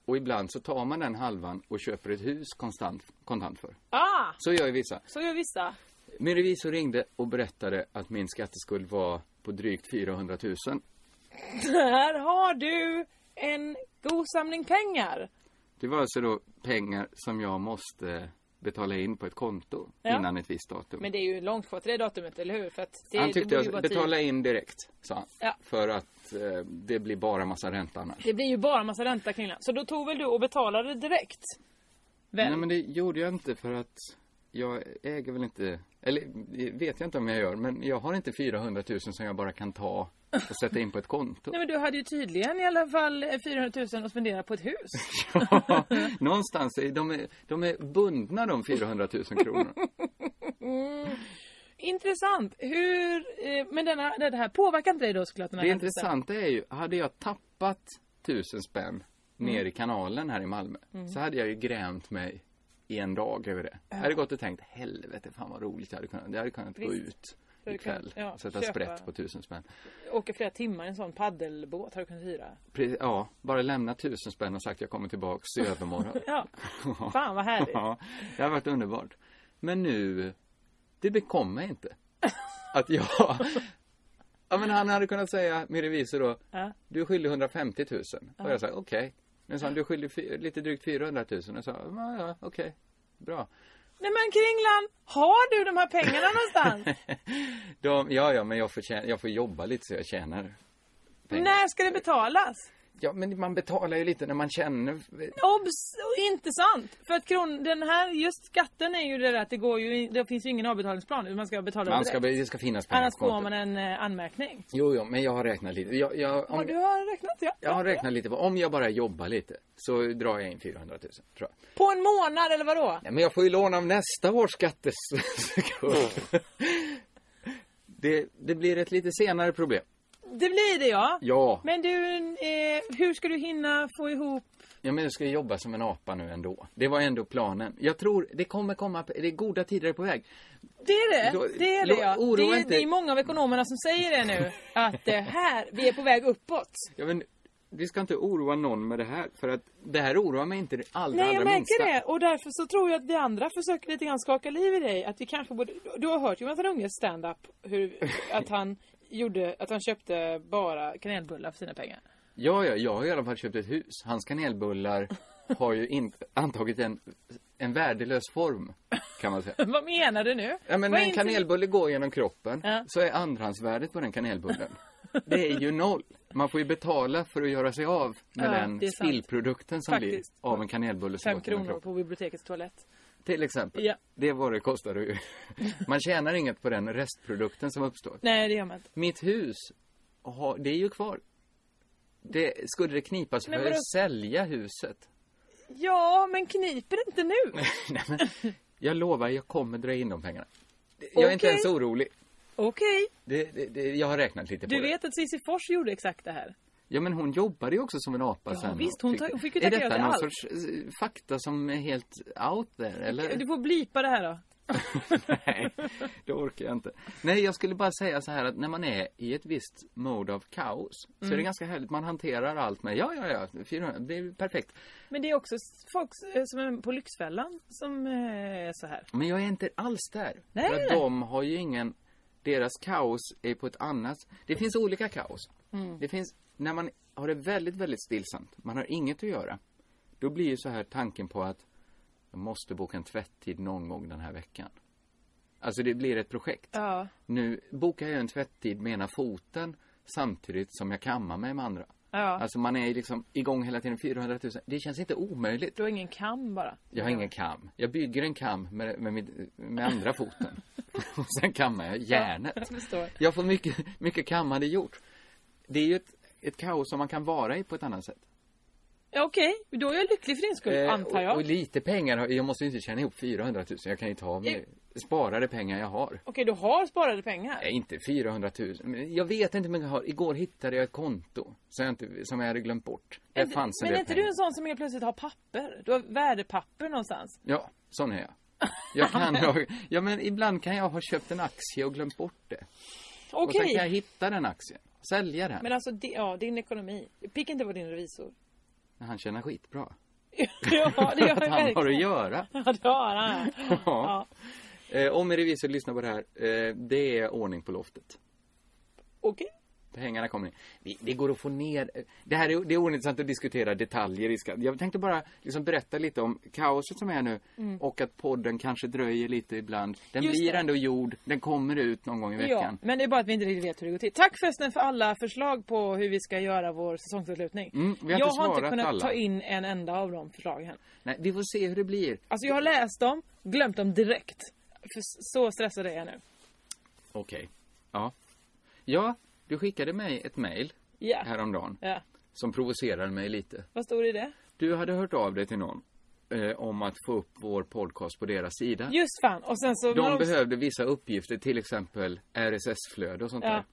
C: och ibland så tar man den halvan och köper ett hus konstant, kontant för.
B: Ah!
C: Så gör ju vissa.
B: Så gör vissa.
C: Min revisor ringde och berättade att min skatteskuld var på drygt 400 000.
B: Här har du en god samling pengar.
C: Det var alltså då pengar som jag måste betala in på ett konto
B: Ja.
C: innan ett visst datum.
B: Men det är ju långt kvar till det datumet, eller hur? För att det,
C: han
B: det
C: tyckte
B: borde ju vara
C: jag
B: tio-
C: betala in direkt, sa han.
B: Ja.
C: För att eh, det blir bara massa ränta annars.
B: Det blir ju bara massa ränta kring det. Så då tog väl du och betalade direkt? Väl?
C: Nej men det gjorde jag inte för att jag äger väl inte, Eller eh, vet jag inte om jag gör, men jag har inte 400 000 som jag bara kan ta och sätta in på ett
B: (laughs)
C: konto.
B: Nej men du hade ju tydligen i alla fall eh, 400 000 att spendera på ett hus.
C: Ja, (laughs) någonstans, är- de är, de är bundna de 400 000 kronorna.
B: Intressant. Hur, eh, men denna, det här påverkar inte dig då såklart? Den här
C: Det
B: händelsen?
C: intressanta är ju, hade jag tappat tusen spänn
B: Mm.
C: ner i kanalen här i Malmö så hade jag ju grämt mig i en dag över det. Jag hade gått och tänkt, helvete fan vad roligt jag hade kunnat, jag hade kunnat gå
B: Visst.
C: ut
B: hade
C: ikväll
B: kunnat, ja,
C: och sätta
B: köpa.
C: sprätt på tusen spänn.
B: Åka flera timmar i en sån paddelbåt har du kunnat hyra.
C: Pre- ja, bara lämna tusen spänn och sagt jag kommer tillbaks i övermorgon.
B: (laughs) Ja. Fan vad härligt.
C: (laughs) Ja, det har varit underbart. Men nu, det bekom mig inte.
B: (laughs)
C: Att jag... Ja, men han hade kunnat säga, min revisor då,
B: Ja.
C: du är skyldig 150 000. Och jag sa, okej. Men sa han, du är skyldig fy- lite drygt 400 000. Och jag sa, ja, ja okej, bra.
B: Nej men Kringlan, har du de här pengarna någonstans?
C: De, ja, ja, men jag får, tjäna, jag får jobba lite så jag tjänar.
B: (laughs)
C: pengar.
B: När ska det betalas?
C: Ja, men man betalar ju lite när man känner.
B: Obs! Inte sant! För att kron, den här, just skatten är ju det där att det går ju, in- det finns ju ingen avbetalningsplan. Man ska betala
C: Man ska,
B: direkt.
C: det ska finnas pengar
B: Annars
C: på
B: får
C: kontot.
B: man en eh, anmärkning.
C: Jo, jo, men jag har räknat lite. Jag, jag, om,
B: Och du har räknat ja.
C: Jag har räknat lite på, om jag bara jobbar lite så drar jag in 400 000 tror jag.
B: På en månad eller vadå?
C: Nej, men jag får ju låna av nästa års skattes... (laughs) det, det blir ett lite senare problem.
B: Det blir det ja.
C: Ja,
B: Men du, eh, hur ska du hinna få ihop?
C: ja men jag ska ju jobba som en apa nu ändå. Det var ändå planen. Jag tror det kommer komma, det är goda tider på väg.
B: Det är det,
C: Då-
B: det är det
C: då-
B: ja.
C: oroa
B: Det är,
C: inte.
B: det är många av ekonomerna som säger det nu. Att eh, här, vi är på väg uppåt.
C: Ja, men, vi ska inte oroa någon med det här för att det här oroar mig inte det allra,
B: Nej, jag
C: allra
B: märker
C: minsta.
B: det. Och därför så tror jag att vi andra försöker lite grann skaka liv i dig. Att vi kanske borde... Du har hört Jonathan Unges stand-up. Hur, att han gjorde... Att han köpte bara kanelbullar för sina pengar.
C: Ja, ja, jag har i alla fall köpt ett hus. Hans kanelbullar har ju in, antagit en, en värdelös form kan man säga.
B: Vad menar du nu?
C: Ja, men
B: Vad
C: när
B: är
C: en
B: inte-
C: kanelbulle går genom kroppen
B: Ja.
C: så är andrahandsvärdet på den kanelbullen. Det är ju noll. Man får ju betala för att göra sig av med
B: Ja, det
C: den
B: är sant.
C: spillprodukten som
B: Faktiskt.
C: blir av en kanelbulle som
B: Fem
C: går genom
B: kronor
C: kroppen.
B: på bibliotekets toalett.
C: Till exempel.
B: Ja.
C: Det är vad det kostar att (laughs) ju. Man tjänar inget på den restprodukten som uppstår.
B: Nej, det gör man inte.
C: Mitt hus, har- det är ju kvar. Det, skulle det knipa så
B: Men
C: får jag ju
B: vadå?
C: sälja huset. (laughs)
B: Ja, men kniper det inte nu?
C: Nej, men, jag lovar, jag kommer dra in de pengarna. Jag är inte
B: Okej.
C: ens orolig.
B: Okej.
C: Det, det, det, jag har räknat lite på
B: Du
C: det.
B: vet att Cissi Fors gjorde exakt det här.
C: Ja men hon jobbade ju också som en apa
B: Ja,
C: sen. och
B: visst, hon ta- hon fick ju
C: Är
B: tacka ja
C: detta
B: till
C: någon
B: allt.
C: sorts eh, fakta som är helt out there eller?
B: Du får blipa det här då.
C: (laughs) Nej, det orkar jag inte. Nej, jag skulle bara säga så här att när man är i ett visst mode av kaos så
B: Mm.
C: är det ganska härligt. Man hanterar allt med ja, ja, ja, 400, det är perfekt.
B: Men det är också folk eh, som är på Lyxfällan som eh, är så här.
C: Men jag är inte alls där.
B: Nej,
C: För att
B: nej.
C: de har ju ingen, deras kaos är på ett annat, det finns olika kaos.
B: Mm.
C: Det finns, när man har det väldigt, väldigt stillsamt, man har inget att göra. Då blir ju så här tanken på att jag måste boka en tvätttid någon gång den här veckan. Alltså det blir ett projekt.
B: Ja.
C: Nu bokar jag en tvätttid med ena foten samtidigt som jag kammar mig med andra.
B: Ja.
C: Alltså man är liksom igång hela tiden 400 000. Det känns inte omöjligt.
B: Du har ingen kam bara.
C: Jag har ingen kam. Jag bygger en kam med, med, mitt- med andra
B: (laughs)
C: foten. Och sen kammar jag järnet.
B: jag förstår.
C: Jag får mycket, mycket kammade gjort. Det är ju ett, ett kaos som man kan vara i på ett annat sätt.
B: Ja, Okej, då är jag lycklig för din skull,
C: Eh,
B: antar jag.
C: Och, och lite pengar. har- Jag måste ju inte tjäna ihop 400 000. Jag kan ju ta med sparade pengar jag har.
B: Okej, du har sparade pengar.
C: Nej, inte 400 000. Men Jag vet inte hur mycket jag har. Igår hittade jag ett konto som jag, inte, som jag hade glömt bort. Där
B: Men-
C: fanns en
B: Men är
C: del
B: inte
C: pengar.
B: du en sån som helt plötsligt har papper? Du har värdepapper någonstans.
C: Ja, sån är jag.
B: (laughs)
C: Jag kan ha, ja men ibland kan jag ha köpt en aktie och glömt bort det. Och
B: Okej,
C: sen kan jag hitta den aktien. Sälja den.
B: men alltså di- ja, din ekonomi. Pick inte på din
C: (laughs)
B: revisor.
C: Han tjänar skitbra.
B: ja, det gör jag
C: (laughs) Att han har att
B: verkligen.
C: göra.
B: (laughs) Ja, det har han.
C: (laughs) Ja. Eh, om en revisor lyssnar på det här, eh, det är ordning på loftet.
B: Okej.
C: Pengarna kommer in. Det, det går att få ner. eh, Det här är, det är ointressant att diskutera detaljer i skatt. Jag tänkte bara liksom berätta lite om kaoset som är nu och att podden kanske dröjer lite ibland. Den
B: Mm. Just
C: blir
B: det.
C: ändå gjord. Den kommer ut någon gång i
B: Ja,
C: veckan.
B: men det är bara att vi inte riktigt vet hur det går till. Tack förresten för alla förslag på hur vi ska göra vår säsongsavslutning.
C: Mm, vi har
B: jag
C: inte
B: har inte
C: svarat
B: kunnat
C: alla.
B: ta in en enda av de förslagen.
C: Nej, vi får se hur det blir.
B: Alltså jag har läst dem, glömt dem direkt. för så stressad är jag nu.
C: Okej. Ja. Ja, du skickade mig ett mejl
B: Ja.
C: häromdagen
B: Ja.
C: som provocerade mig lite.
B: Vad stod det i det?
C: Du hade hört av dig till någon eh, om att få upp vår podcast på deras sida.
B: Just fan! Och sen så...
C: De
B: men
C: behövde vissa uppgifter, till exempel RSS-flöde och sånt
B: Ja.
C: där.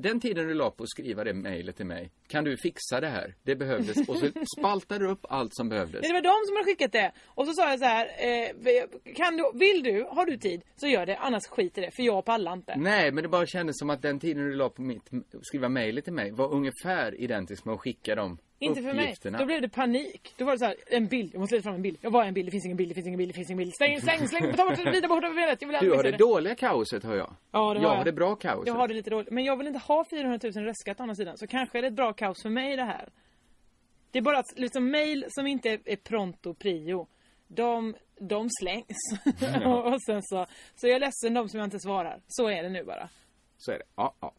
C: Den tiden du la på att skriva det mejlet till mig, kan du fixa det här? Det behövdes. Och
B: (laughs)
C: så spaltade du upp allt som behövdes.
B: Det var de som hade skickat det. Och så sa jag så här, eh, kan du, vill du, har du tid, så gör det. Annars skit i det, för jag pallar inte.
C: Nej, men det bara kändes som att den tiden du la på mitt, skriva mejlet till mig var ungefär identisk med att skicka de
B: Inte för mig.
C: uppgifterna.
B: Då blev det panik. Då var det så här, en bild. Jag måste leta fram en bild. Jag var en bild, det finns ingen bild, det finns ingen bild, det finns ingen bild. Släng, släng, släng, ta bort det, vrida bort det, benet. Jag vill
C: Du
B: aldrig
C: har
B: se
C: det dåliga kaoset, har jag.
B: Ja, det har
C: jag har
B: jag.
C: det bra kaoset.
B: Jag har det lite dåligt. Men jag vill inte ha 400 000 röstskatt å andra sidan. Så kanske är det ett bra kaos för mig det här. Det är bara att liksom mail som inte är- är pronto prio. De, de slängs. (laughs)
C: Mm,
B: och, och sen så, så jag är ledsen de som jag inte svarar. Så är det nu bara.
C: Så är det. Ja, ja.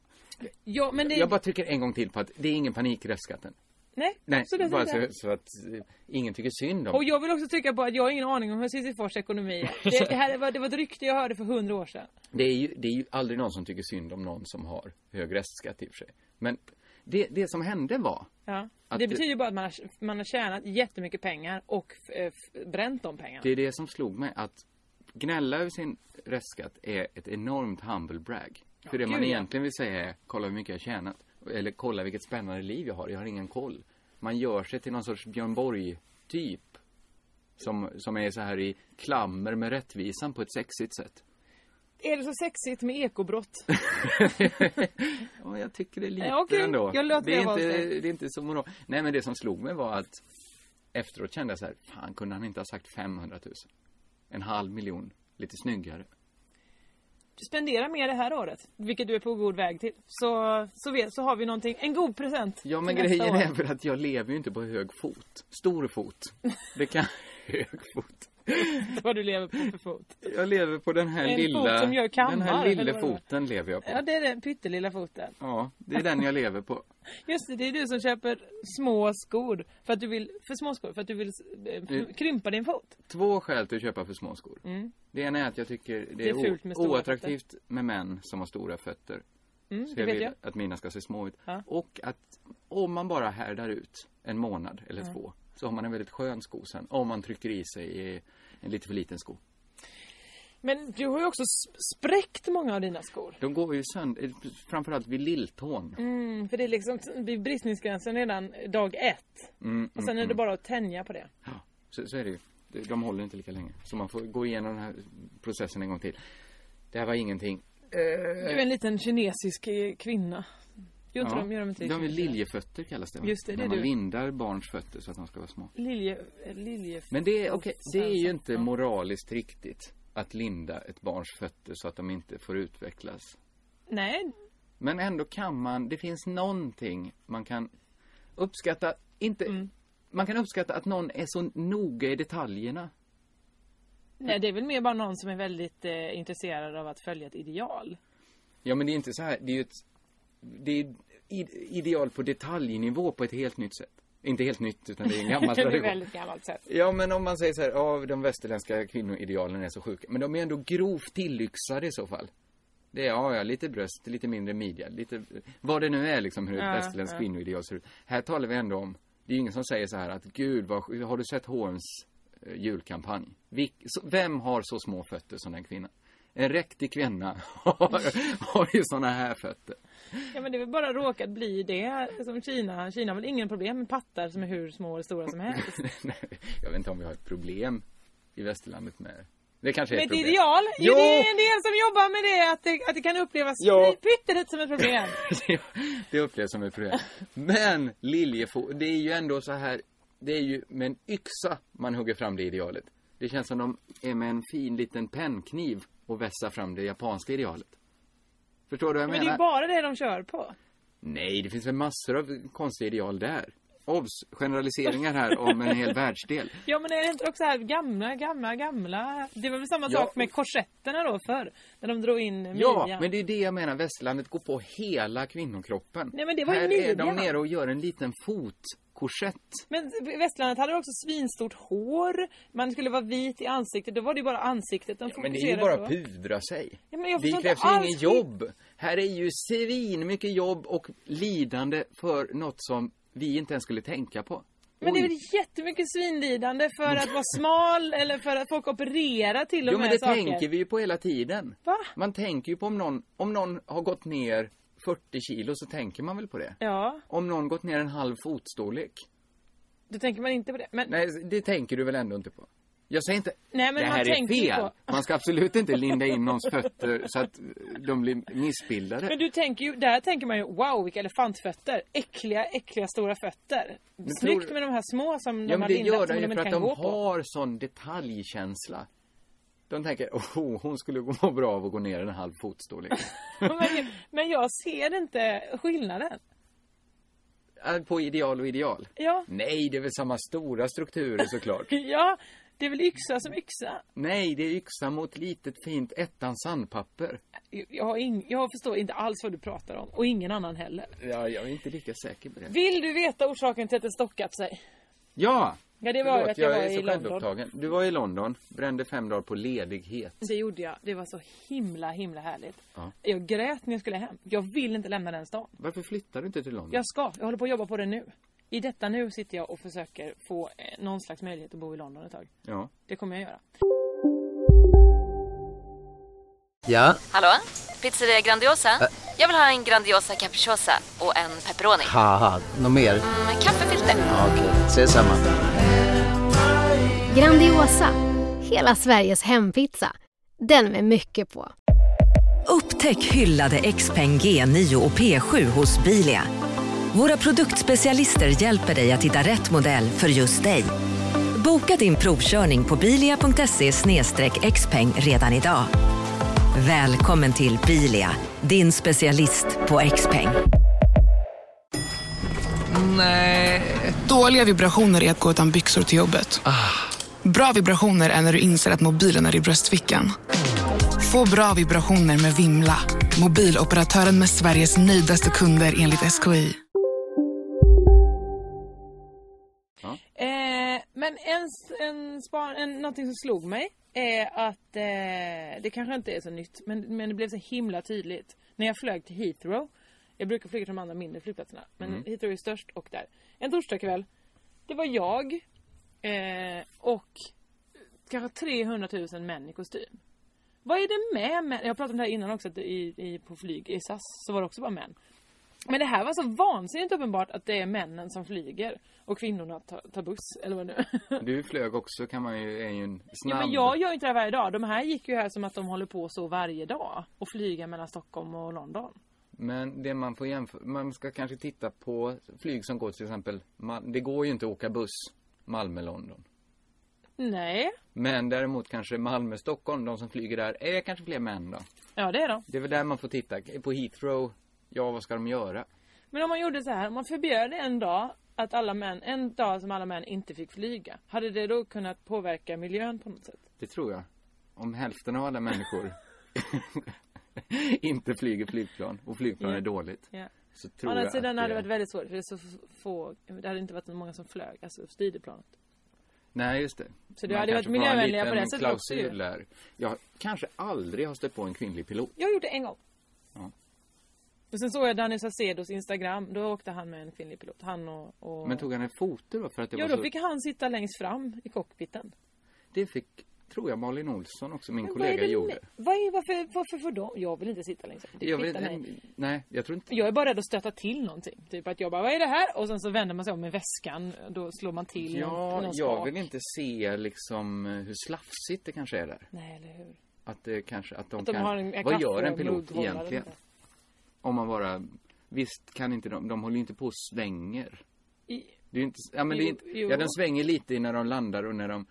B: Ja, men det,
C: Jag bara trycker en gång till på att det är ingen panik i restskatten.
B: nej,
C: Nej,
B: absolut
C: bara
B: inte.
C: så, så att eh, ingen tycker synd om
B: Och jag vill också trycka på att jag har ingen aning om hur Sisyfors ekonomi
C: (laughs)
B: är. Det, det, här var, det var ett rykte jag hörde för hundra år sedan.
C: Det är, ju, det är ju aldrig någon som tycker synd om någon som har hög restskatt i och för sig. Men det, det som hände var
B: Ja.
C: Att
B: det
C: det-
B: betyder ju bara att man har, man har tjänat jättemycket pengar och eh, f- bränt de pengarna.
C: Det är det som slog mig att gnälla över sin restskatt är ett enormt humble brag. För det man
B: gud, ja.
C: egentligen vill säga är kolla hur mycket jag har tjänat. Eller kolla vilket spännande liv jag har. Jag har ingen koll. Man gör sig till någon sorts Björn Borg-typ. Som, som är så här i klammer med rättvisan på ett sexigt sätt.
B: Är det så sexigt med ekobrott?
C: Ja, jag tycker det är lite
B: Ja, Eh, okej.
C: ändå.
B: Jag låter
C: det, är
B: det vara
C: inte,
B: hos dig.
C: det är inte så moral. Nej, men det som slog mig var att efteråt kände jag så här, fan kunde han inte ha sagt 500 000? En halv miljon, lite snyggare.
B: Du spenderar mer det här året, vilket du är på god väg till. Så, så, vet, så har vi någonting, en god present
C: Ja, men
B: till nästa
C: grejen
B: år.
C: är väl att jag lever ju inte på hög fot. Stor fot. Det kan... (laughs) hög fot.
B: Vad du lever på för
C: (laughs)
B: fot.
C: Jag lever på den här
B: En fot
C: lilla...
B: som gör kammar,
C: den här lilla
B: eller vad det var.
C: foten lever jag på.
B: Ja, det är den pyttelilla foten.
C: Ja, det är den jag lever på.
B: Just det, det är du som köper små skor för att du vill, för små skor, för att du vill eh, f- krympa din fot.
C: Två skäl till att köpa för små skor. Det ena är att jag tycker det,
B: Mm. Det är
C: är,
B: fult med
C: o-
B: stora Mm,
C: oattraktivt med män som har stora fötter. så jag
B: det
C: vill
B: vet jag.
C: att mina ska se små ut.
B: Ja.
C: Och att om man bara härdar ut en månad eller två så har man en väldigt skön sko sen. Om man trycker i sig eh, en lite för liten sko.
B: Men du har ju också s- spräckt många av dina skor.
C: De går ju sönder, eh, framförallt vid lilltån.
B: Mm, för det är liksom t- vid bristningsgränsen redan dag ett.
C: Mm,
B: och sen är det bara att tänja på det.
C: Ja, så, så är det ju. De- De håller inte lika länge. Så man får gå igenom den här processen en gång till. Det här var ingenting.
B: Du är en liten kinesisk eh, kvinna. Gör inte de, gör de inte
C: de är
B: kinesiska?
C: liljefötter kallas det. va?
B: Just det, det
C: När
B: är
C: man
B: du.
C: lindar barns fötter så att de ska vara små.
B: Lilje, eh, lilje...
C: Men det är, okej, det är ju inte moraliskt riktigt att linda ett barns fötter så att de inte får utvecklas.
B: Nej,
C: Men ändå kan man, det finns någonting man kan uppskatta, inte,
B: Mm.
C: man kan uppskatta att någon är så noga i detaljerna.
B: nej, det är väl mer bara någon som är väldigt eh, intresserad av att följa ett ideal.
C: Ja men det är inte så här, det är ju ett, det är i- ideal på detaljnivå på ett helt nytt sätt. Inte helt nytt utan det är en
B: (laughs)
C: gammal
B: det är
C: tradition.
B: väldigt gammalt sätt.
C: Ja, men om man säger så här, ja, de västerländska kvinnoidealen är så sjuka. Men de är ändå grovt tillyxade i så fall. Det är, ja, ja, lite bröst, lite mindre midja, lite, vad det nu är liksom hur ett västerländskt kvinnoideal ser ut. Här talar vi ändå om, det är ju ingen som säger så här att gud, vad, sj- har du sett H&M's eh, julkampanj? Vilk, så, vem har så små fötter som den kvinnan? En riktig kvinna har, (laughs) har ju såna här fötter. (laughs)
B: Ja men det är väl bara råkat bli det som Kina. Kina har väl ingen problem med pattar som är hur små eller stora som helst.
C: Nej, jag vet inte om vi har ett problem i västerlandet med det. kanske är
B: Med
C: ett
B: ett
C: problem.
B: ideal. Jo!
C: Jo!
B: Det är en del som jobbar med det att det, att det kan upplevas
C: Ja.
B: pyttelite som ett
C: (laughs)
B: problem.
C: Det- det upplevs som ett problem. Men liljefot, det är ju ändå så här. Det är ju med en yxa man hugger fram det idealet. Det känns som de är med en fin liten pennkniv och vässar fram det japanska idealet. Förstår du vad jag
B: Men det är
C: menar?
B: ju bara det de kör på.
C: Nej, det finns väl massor av konstiga ideal där. obs, generaliseringar här om en
B: (laughs)
C: hel världsdel.
B: Ja men är det inte också här gamla, gamla, gamla? Det var väl samma
C: Ja.
B: sak med korsetterna då förr? När de drog in midjan.
C: Ja, men det är det jag menar. Västlandet går på hela kvinnokroppen.
B: Nej, men det var ju
C: Här är de
B: midjan.
C: nere och gör en liten fotkorsett.
B: Men västlandet hade också svinstort hår. Man skulle vara vit i ansiktet. Då var det ju bara ansiktet de
C: Men det är ju
B: fokuserade
C: bara
B: på.
C: att pudra sig.
B: Ja, men jag
C: det
B: förstår
C: krävs
B: inte
C: ju
B: alls
C: ingen
B: skit-
C: jobb. Här är ju svin mycket jobb och lidande för något som vi inte ens skulle tänka på.
B: Men det är
C: Oj. Mm.
B: väl jättemycket svinlidande för att vara smal eller för att folk opererar till och
C: Jo,
B: med
C: men det
B: saker.
C: tänker vi ju på hela tiden.
B: Va?
C: Man tänker ju på om någon, om någon har gått ner 40 kilo så tänker man väl på det?
B: Ja,
C: Om någon gått ner en halv fotstorlek?
B: då tänker man inte på det. Men nej,
C: Nej, det tänker du väl ändå inte på? Jag säger inte,
B: Nej, men
C: det
B: man
C: här är
B: tänker ju
C: fel.
B: på-
C: Man ska absolut inte linda in någons fötter så att de blir missbildade.
B: (laughs) men du tänker ju, där tänker man ju wow vilka elefantfötter. Äckliga, äckliga stora fötter. Snyggt
C: tror-
B: med de här små som de
C: Ja,
B: har
C: men det
B: lindat som
C: gör de
B: de
C: ju för
B: inte
C: att
B: kan
C: de
B: gå på.
C: har sån detaljkänsla. De tänker, oh, hon skulle må bra av att gå (laughs) ner en halv liksom." fotstorlek.
B: (laughs) (laughs) Men, men jag ser inte skillnaden.
C: Äh, På ideal och ideal.
B: Ja,
C: Nej, det är väl samma stora strukturer
B: (laughs)
C: såklart.
B: ja det är väl yxa som yxa.
C: Nej, det är yxa mot litet fint ettans sandpapper.
B: Jag, jag, har ing, jag förstår inte alls vad du pratar om och ingen annan heller.
C: Ja, jag är inte lika säker på det.
B: Vill du veta orsaken till att det stockat sig?
C: Ja!
B: Ja, det var ju att jag, var i London.
C: självupptagen. Du var i London, brände fem dagar på ledighet.
B: Det gjorde jag. Det var så himla, himla härligt.
C: Ja.
B: Jag grät när jag skulle hem. Jag vill inte lämna den stan.
C: Varför flyttade du inte till London?
B: Jag ska. Jag håller på att jobba på det nu. I detta nu sitter jag och försöker få eh, någon slags möjlighet att bo i London ett tag.
C: Ja.
B: Det kommer jag göra.
D: Ja,
E: Hallå? Pizzeria Grandiosa? Jag vill ha en Grandiosa capriciosa och en pepperoni.
D: haha, något mer?
E: Med kaffefilter.
D: Ja, Okej, ses samma.
F: Grandiosa, hela Sveriges hempizza. Den med mycket på.
G: Upptäck hyllade XPeng G9 och P7 hos Bilia. Våra produktspecialister hjälper dig att hitta rätt modell för just dig. Boka din provkörning på bilia.se xpeng redan idag. Välkommen till Bilia, din specialist på XPeng.
H: Nej. Dåliga vibrationer är att gå utan byxor till jobbet. Bra vibrationer är när du inser att mobilen är i bröstfickan. Få bra vibrationer med Vimla. Mobiloperatören med Sveriges nöjdaste kunder enligt SKI.
B: Eh, men en, s- en span, en, någonting som slog mig är att eh, det kanske inte är så nytt men, men det blev så himla tydligt när jag flög till Heathrow. Jag brukar flyga till de andra mindre flygplatserna men Heathrow är störst och där. En torsdagkväll, det var jag eh, och kanske 300 000 män i kostym. Vad är det med män? Jag pratade om det här innan också att i, i, på flyg i SAS så var det också bara män. Men det här var så vansinnigt uppenbart att det är männen som flyger och kvinnorna tar, tar buss eller vad nu. (laughs)
C: Du flög också kan man ju, är ju en
B: Ja,
C: snabb...
B: men jag gör ju inte det här varje dag. De här gick ju här som att de håller på så varje dag och flyger mellan Stockholm och London.
C: Men det man får jämföra, man ska kanske titta på flyg som går till exempel, man, det går ju inte att åka buss Malmö-London.
B: Nej,
C: Men däremot kanske Malmö-Stockholm, de som flyger där, är kanske fler män då.
B: ja det är de.
C: Det är väl där man får titta. På Heathrow, ja vad ska de göra?
B: Men om man gjorde så här, om man förbjöd en dag att alla män, en dag som alla män inte fick flyga. Hade det då kunnat påverka miljön på något sätt?
C: Det tror jag. Om hälften av alla människor (laughs) inte flyger flygplan och flygplan
B: Ja.
C: är dåligt.
B: Ja.
C: Så tror
B: Å andra
C: jag
B: sidan
C: att
B: hade det
C: det är-
B: varit väldigt svårt för det är så f- få, det hade inte varit så många som flög, alltså styrde planet.
C: Nej, just det.
B: Så det
C: Man
B: hade varit
C: kanske får ha en
B: miljövänliga på
C: liten
B: det sättet också ju.
C: klausul där. Jag kanske aldrig har stött på en kvinnlig pilot.
B: Jag gjorde det en gång.
C: Ja.
B: Och sen såg jag Danny Saucedos Instagram, då åkte han med en kvinnlig pilot. Han och... och...
C: Men tog han ett foto då? För att det
B: Ja,
C: var
B: då
C: så...
B: fick han sitta längst fram i cockpiten.
C: Det fick, tror jag, Malin Olsson också, min
B: Men vad är
C: kollega,
B: det
C: gjorde.
B: med- Vad är, varför, varför får de? Jag vill inte sitta längst fram. Det
C: Jag vet,
B: kvittar mig.
C: nej, jag tror inte...
B: Jag är bara rädd att stöta till någonting. Typ att jag bara, vad är det här? Och sen så vänder man sig om med väskan. Då slår man till någon,
C: Ja,
B: någon
C: jag
B: spak.
C: vill inte se liksom eh, hur slafsigt det kanske är där.
B: Nej, eller hur?
C: Att det kanske, att de,
B: Att de
C: kan...
B: har en- en
C: vad
B: kaffe
C: gör en
B: och
C: pilot
B: mugghållare
C: egentligen?
B: och sånt
C: Om man bara... Visst kan inte de, de håller ju inte på och svänger.
B: I,
C: Det är ju inte, ja men det är
B: Jo,
C: inte,
B: jo.
C: ja de svänger lite när de landar och när de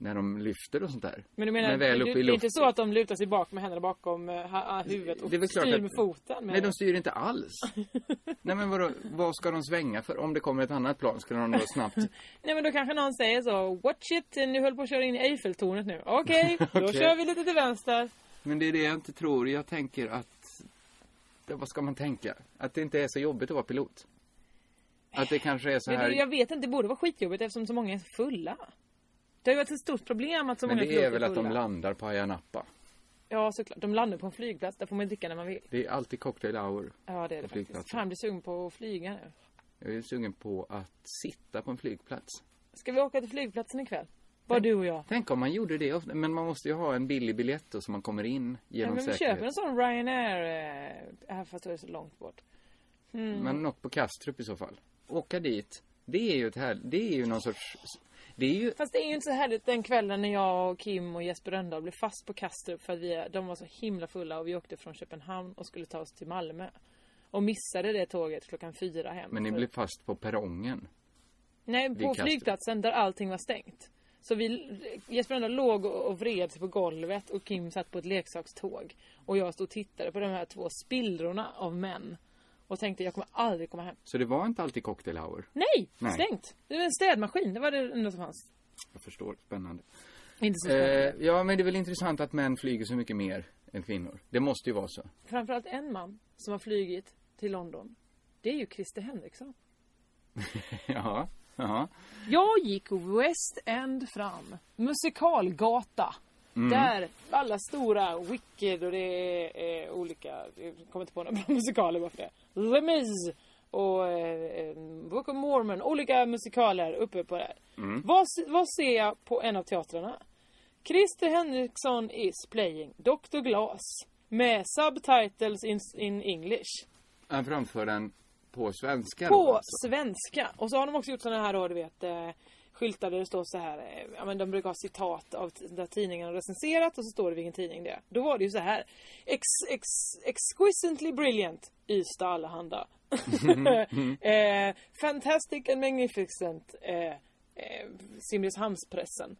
C: när de lyfter och sånt där.
B: Men du menar,
C: Men väl
B: det,
C: uppe i
B: det är inte
C: luften.
B: så att de lutar sig bak med händerna bakom eh, ha- ha- huvudet och
C: Det är väl klart
B: styr
C: att-
B: med foten?
C: Nej, de styr
B: (laughs)
C: inte alls. Nej, men vadå, vad ska de svänga för? Om det kommer ett annat plan skulle de då snabbt...
B: Nej men då kanske någon säger så, watch it, ni höll på att köra in i Eiffeltornet nu.
C: (laughs)
B: Okej, då
C: Okej.
B: kör vi lite till vänster.
C: Men det är det jag inte tror. Jag tänker att... Ja, vad ska man tänka? Att det inte är så jobbigt att vara pilot. Att det kanske är så
B: Men
C: här...
B: det, jag vet inte, det borde vara skitjobbigt eftersom så många är så fulla. Det har ju varit ett stort problem att så
C: Men
B: många
C: det är
B: piloter
C: väl att de
B: fulla.
C: landar på Ayia Napa.
B: Ja såklart, de landar på en flygplats, där får man ju dricka när man vill.
C: Det är alltid cocktail hour.
B: Ja det är det
C: på
B: faktiskt.
C: flygplatser.
B: Fan jag blir sugen på att flyga nu.
C: Jag är sugen på att sitta på en flygplats.
B: Ska vi åka till flygplatsen ikväll? Bara du och jag.
C: Tänk om man gjorde det ofta. Men man måste ju ha en billig biljett då så man kommer in
B: Ja,
C: genom
B: men vi
C: säkerhet.
B: köper en sån Ryanair, eh, här fast då är det så långt bort. Mm.
C: Men något på Kastrup i så fall. Åka dit. Det är ju ett här, det är ju någon sorts... Det är ju...
B: Fast det är ju inte så härligt den kvällen när jag och Kim och Jesper Rönndahl blev fast på Kastrup för att vi, de var så himla fulla och vi åkte från Köpenhamn och skulle ta oss till Malmö. Och missade det tåget klockan fyra hem.
C: Men ni
B: För-
C: blev fast på perrongen.
B: Nej,
C: vid
B: på
C: Kastrup.
B: flygplatsen där allting var stängt. Så vi, Jesper Rönndahl låg och och vred sig på golvet och Kim satt på ett leksakståg. Och jag stod och tittade på de här två spillrorna av män. Och tänkte jag kommer aldrig komma hem.
C: Så det var inte alltid cocktail hour.
B: Nej!
C: Nej.
B: Stängt! Det var en städmaskin, det var det enda som fanns.
C: Jag förstår. Spännande.
B: Inte så spännande.
C: Eh, ja, men det är väl intressant att män flyger så mycket mer än kvinnor. Det måste ju vara så. (laughs)
B: Framförallt en man som har flygit till London. Det är ju Christer Henriksson.
C: ja. Ja.
B: Jag gick West End fram. Musikalgata.
C: Mm.
B: Där alla stora Wicked och det är eh, olika, jag kommer inte på några bra (laughs) musikaler bara för det. The Miz och eh, eh, Book of Mormon, olika musikaler uppe på där.
I: Mm.
B: Vad, se- vad ser jag på en av teatrarna? Christer Henriksson is playing Dr. Glass med subtitles in, in English.
C: Han framför den på svenska
B: På
C: då, alltså.
B: svenska. Och så har de också gjort såna här då, du vet, eh, skyltar där det står så här. eh, Ja, men de brukar ha citat av t- där tidningen har recenserat och så står det vilken tidning det är. Då var det ju så här. Ex, ex, exquisitely brilliant. Ystad
C: (laughs)
B: Allehanda. (laughs) eh, fantastic and magnificent. Eh, eh, Simrishamnspressen.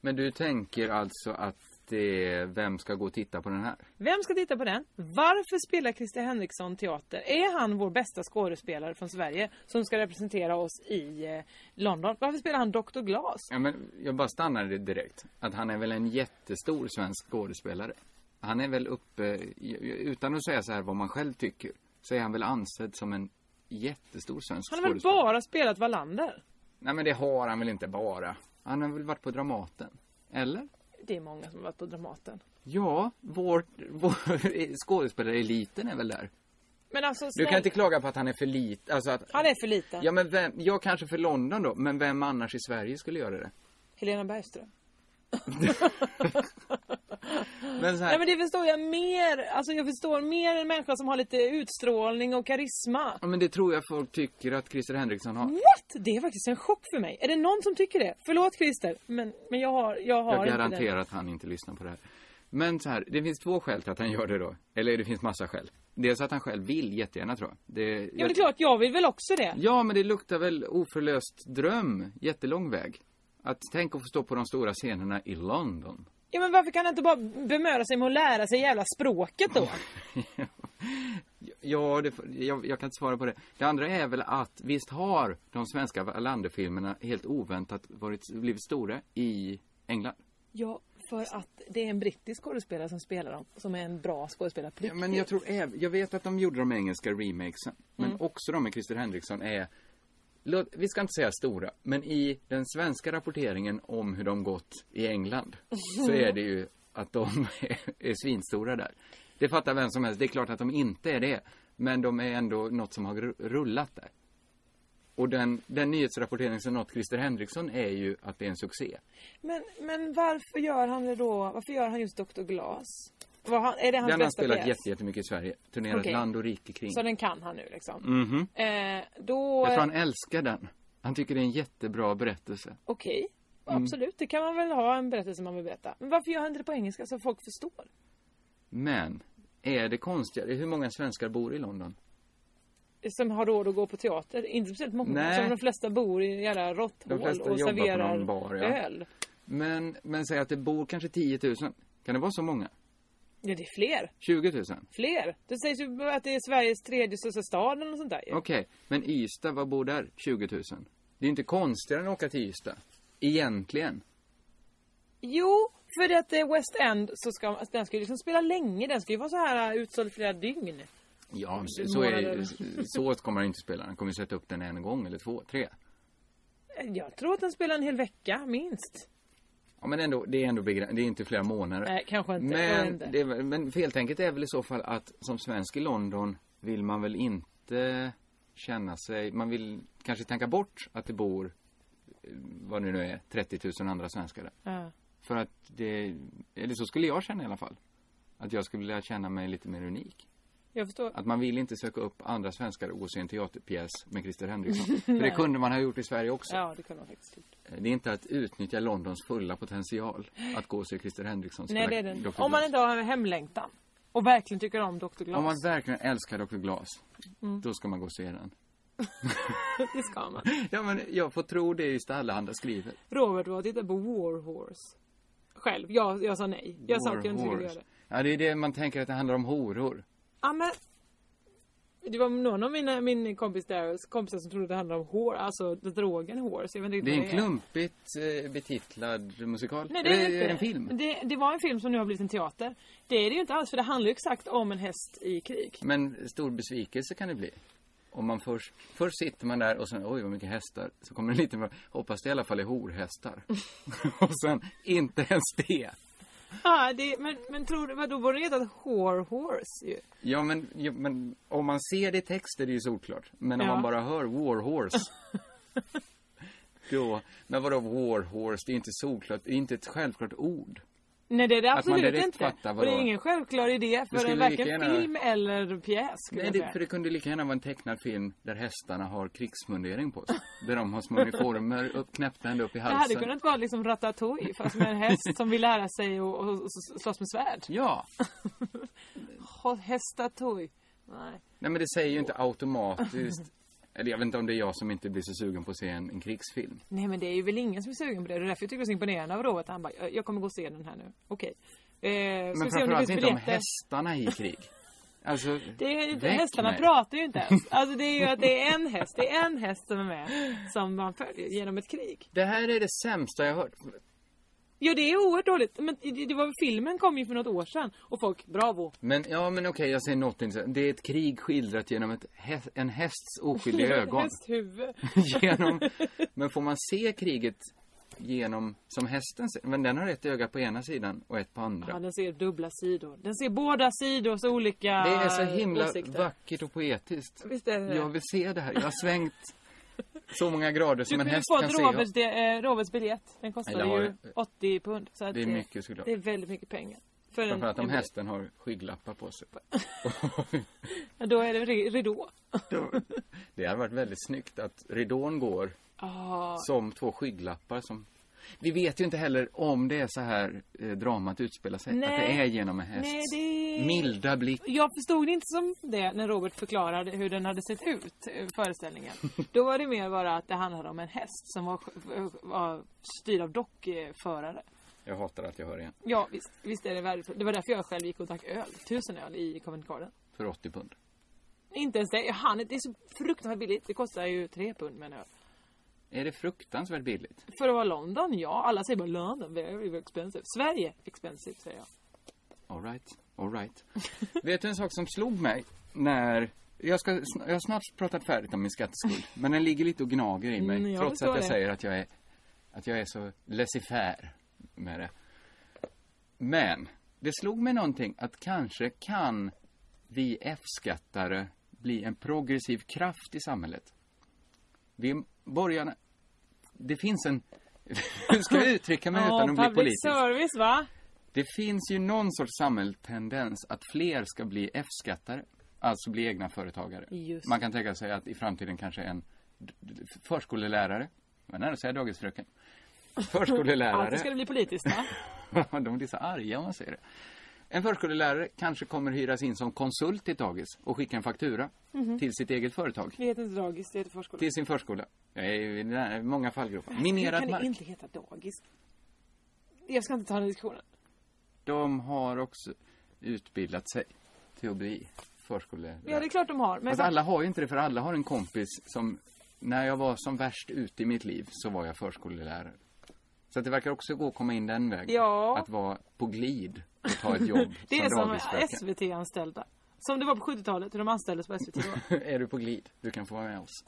C: Men du tänker alltså att det, vem ska gå och titta på den här?
B: Vem ska titta på den? Varför spelar Christer Henriksson teater? Är han vår bästa skådespelare från Sverige som ska representera oss i eh, London? Varför spelar han Dr. Glas?
C: Ja, men jag bara stannade direkt. Att han är väl en jättestor svensk skådespelare. Han är väl uppe, utan att säga så här vad man själv tycker, så är han väl ansedd som en jättestor svensk
B: Han har väl
C: skådespelare.
B: bara spelat Wallander?
C: Nej men det har han väl inte bara. Han har väl varit på Dramaten? Eller?
B: Det är många som har varit på Dramaten.
C: Ja, vår, vår (laughs) skådespelareliten är väl där.
B: Men alltså,
C: Du
B: snäll,
C: kan inte klaga på att han är för liten. Alltså att,
B: han är för liten.
C: ja men vem, jag kanske för London då, men vem annars i Sverige skulle
B: (laughs)
C: göra det?
B: Helena Bergström.
C: (laughs) Men så här,
B: Nej men det förstår jag mer. Alltså jag förstår mer en människa som har lite utstrålning och karisma.
C: ja, men det tror jag folk tycker att Christer Henriksson har.
B: What? Det är faktiskt en chock för mig. Är det någon som tycker det? Förlåt Christer, men, men jag har, jag har
C: Jag
B: inte den.
C: garanterar att han inte lyssnar på det här. Men så här, det finns två skäl till att han gör det då. Eller det finns massa skäl. Dels att han själv vill jättegärna tror jag. Det,
B: Ja men det är klart, jag vill väl också det.
C: Ja, men det luktar väl oförlöst dröm, jättelång väg. Att tänk att få stå på de stora scenerna i London.
B: Ja men varför kan han inte bara bemöda sig med att lära sig jävla språket
C: (laughs)
B: då?
C: Ja, det, jag, jag kan inte svara på det. Det andra är väl att visst har de svenska Wallander-filmerna helt oväntat varit, blivit stora i England.
B: Ja, för att det är en brittisk skådespelare som spelar dem. Som är en bra skådespelare på
C: Ja, men jag tror även, jag vet att de gjorde de engelska remakesen. Men
B: Mm.
C: också de med Christer Henriksson är, låt, vi ska inte säga stora, men i den svenska rapporteringen om hur de gått i England så är det ju att de (laughs) är, är svinstora där. Det fattar vem som helst. Det är klart att de inte är det. Men de är ändå något som har ru- rullat där. Och den, den nyhetsrapportering som nått Christer Henriksson är ju att det är en succé.
B: Men, men varför gör han det då? Varför gör han just Dr. Glas? Var han, är det hans
C: Den har
B: bästa
C: spelat
B: pjäs?
C: jätte, jättemycket i Sverige. Turnerat
B: Okej.
C: land och rike kring.
B: Så den kan han nu liksom.
C: Mhm.
B: Eh, då...
C: Jag tror han älskar den. Han tycker det är en jättebra berättelse.
B: Okej.
C: Mm.
B: Absolut, det kan man väl ha en berättelse man vill berätta. Men varför gör han inte det på engelska så folk förstår?
C: Men, är det konstigare? Hur många svenskar bor i London?
B: Som har råd att gå på teater. Inte speciellt många.
C: Nej.
B: Som de flesta bor i jävla råtthål
C: De flesta
B: och
C: jobbar på
B: serverar
C: någon bar, ja.
B: öl.
C: Men, men säg att det bor kanske 10 000. Kan det vara så många?
B: Ja, det är fler.
C: 20 000? Okej,
B: Fler. Det sägs ju att det är Sveriges tredje största stad eller något sånt där ju.
C: men Ystad, vad bor där? 20 000? Det är inte konstigare än att åka till Ystad. Egentligen.
B: Jo, för att eh, West End, så ska, den ska ju liksom spela länge. Den ska ju vara så här eh, utsåld flera dygn.
C: Ja,
B: Om
C: så, är,
B: månader.
C: så kommer han inte spela. Han kommer sätta upp den en gång eller två, tre.
B: Eh, Jag tror att den spelar en hel vecka, minst.
C: Ja, men ändå, det är ändå begräns- det är inte flera månader.
B: Nej, kanske inte. Jag vet
C: Men,
B: inte.
C: det är, väl- men feltänket är väl i så fall att som svensk i London vill man väl inte känna sig, man vill kanske tänka bort att det bor, eh, vad det nu är, 30 000 andra svenskar där.
B: Ja.
C: För att det, eller så skulle jag känna i alla fall. Att jag skulle vilja känna mig lite mer unik.
B: Jag förstår.
C: Att man vill inte söka upp andra svenskar och gå och se en teaterpjäs med
B: (laughs)
C: Christer Henriksson. För det
B: Nej.
C: kunde man ha gjort i Sverige också.
B: Ja, det kunde man faktiskt typ. gjort.
C: Det är inte att utnyttja Londons fulla potential att gå och se Christer Henriksson
B: Nej,
C: spela
B: det är den.
C: Dr.
B: Om man
C: Glas.
B: inte har en hemlängtan. Och verkligen tycker om Dr. Glas.
C: Om man verkligen älskar Dr. Glas,
B: Mm.
C: då ska man gå och se den.
B: (laughs) det ska man.
C: Ja, men jag får tro det just alla andra skriver.
B: Robert var och tittade på War Horse. Själv. Jag, jag sa nej. Jag sa att jag inte skulle
C: Warhorse.
B: göra det.
C: Ja, det är det man tänker att det handlar om horor.
B: Ja, men... Det var någon av mina, min kompis Darrells kompisar som trodde det handlade om hår, alltså drogen horse. Jag vet inte
C: Det är en
B: riktigt vad
C: klumpigt eh, betitlad musikal.
B: Nej, det är
C: Eller eh,
B: det inte.
C: en film.
B: Det, det var en film som nu har blivit en teater. Det är det ju inte alls, för det handlar ju exakt om en häst i krig.
C: Men stor besvikelse kan det bli. Om man först, först sitter man där och sen, oj vad mycket hästar. Så kommer det lite, mer, hoppas det i alla fall
B: (laughs)
C: är horhästar. och sen, inte ens det.
B: Ja, det, men, men tror du, vadå, borde det hetat whore horse ju?
C: Ja men, ja, men om man ser det i text är det ju solklart. Men om
B: Ja.
C: man bara
B: (laughs)
C: hör warhorse. då, men vadå warhorse? Det är inte solklart, det är inte ett självklart ord.
B: Nej, det är det
C: Att man
B: absolut
C: direkt
B: inte.
C: fattar
B: och
C: vad
B: det
C: det
B: är
C: var.
B: ingen självklar idé för
C: skulle
B: en
C: lika
B: varken
C: gärna-
B: film eller pjäs. skulle
C: Nej,
B: jag
C: det,
B: säga.
C: för det kunde lika gärna vara en tecknad film där hästarna har krigsmundering på sig. där de har små uniformer upp, knäppta ända upp i
B: Det
C: halsen.
B: hade kunnat vara liksom Ratatouille fast med en häst som vill lära sig att och, och slåss med svärd.
C: Ja.
B: Hästatouille. Nej.
C: Nej men det säger ju inte automatiskt. Eller jag vet inte om det är jag som inte blir så sugen på att se en, en krigsfilm.
B: Nej men det är ju väl ingen som är sugen på det. Det är därför jag tycker det är så imponerande av Robert. Han bara, "Jag- jag kommer gå och se den här nu. Okej. Eh, ska vi
C: Men
B: se om det
C: framförallt
B: finns
C: inte om
B: biljetter.
C: hästarna i krig. Alltså,
B: Det är inte,
C: väck
B: hästarna
C: mig.
B: pratar ju inte
C: (laughs)
B: ens. Alltså det är ju att det är en häst. Det är en häst som är med. Som man följer genom ett krig.
C: Det här är det sämsta jag hört.
B: Ja det är oerhört dåligt. Men det, det var, filmen kom ju för något år sedan. Och folk, bravo.
C: Men ja, men okej, jag säger något intressant. Det är ett krig skildrat genom ett hä- en hästs oskyldiga ögon.
B: Hästhuvud.
C: (laughs) genom, men får man se kriget genom, som hästen ser? Men den har ett öga på ena sidan och ett på andra.
B: Ja, den ser dubbla sidor. Den ser båda sidors olika
C: det är så himla
B: åsikter.
C: vackert och poetiskt.
B: Visst är det
C: Jag vill se det här. Jag har svängt så många grader som
B: Du
C: en
B: kunde
C: häst kan
B: fått
C: se.
B: Roberts, det, eh, Roberts biljett. Den
C: Nej,
B: kostade
C: den var-
B: ju 80 pund. Så att
C: Det är mycket, såklart.
B: Det är väldigt mycket pengar. För en,
C: Framförallt om
B: en biljett.
C: hästen har skygglappar på sig. (laughs)
B: Ja, Då är det ri- ridå.
C: Det hade varit väldigt snyggt att ridån går
B: Ah.
C: som två skygglappar som... Vi vet ju inte heller om det är så här eh, dramat utspelar sig. Att det
B: Nej.
C: är genom en häst.
B: Nej, det-
C: Milda blick.
B: Jag förstod inte som det när Robert förklarade hur den hade sett ut, eh,
C: (laughs)
B: föreställningen. Då var det mer bara att det handlade om en häst som var, var styrd av dockförare.
C: Jag hatar att jag hör igen.
B: Ja, visst, visst är det värdefullt. Det var därför jag själv gick och drack öl. Tusen öl i Covent Garden.
C: För 80 pund.
B: Inte ens det. Jag hann inte. Det är så fruktansvärt billigt. Det kostar ju tre pund med en öl.
C: Är det fruktansvärt billigt?
B: För att vara London, ja. Alla säger bara London, very expensive. Sverige, expensive, säger jag.
C: Alright, alright. (laughs) vet du en sak som slog mig när... Jag, ska, sn- jag har snart pratat färdigt om
B: (laughs)
C: min skatteskuld. men den ligger lite och gnager i mig.
B: Mm, jag
C: trots
B: förstår
C: att jag
B: det.
C: säger att jag är, att jag är så laissez-faire med det. Men det slog mig någonting att kanske kan vi F-skattare bli en progressiv kraft i samhället. Vi borgarna... Det finns en... (laughs) Hur ska jag uttrycka mig utan att bli
B: public
C: politisk?
B: service, va?
C: Det finns ju någon sorts samhällstendens att fler ska bli F-skattare, alltså bli egna företagare.
B: Just.
C: Man kan tänka sig att i framtiden kanske en d- d- förskollärare, vad nära att säga dagisfröken, förskollärare,
B: Alltid ska det bli politiskt, va?
C: (laughs) de blir så arga om man säger det. En förskollärare kanske kommer hyras in som konsult i ett dagis och skicka en faktura
B: Mhm.
C: till sitt eget företag,
B: Det heter inte dagis, det heter förskola.
C: till sin förskola. Jag är i nära- många fallgropar.
B: Hur
C: Minerad
B: kan det
C: mark.
B: inte heta dagis? Jag ska inte ta den diskussionen.
C: De har också utbildat sig till att bli förskollärare.
B: Ja, det är klart de har. Men
C: Fast Alltså, alla har ju inte det, för alla har en kompis som... När jag var som värst ute i mitt liv så var jag förskollärare. Så att det verkar också gå att komma in den vägen.
B: Ja.
C: Att vara på glid och ta ett jobb
B: (laughs) det är som
C: dagisfröken.
B: SVT-anställda. Som det var på 70-talet, hur de anställdes på SVT då.
C: (laughs) är du på glid? Du kan få vara med oss.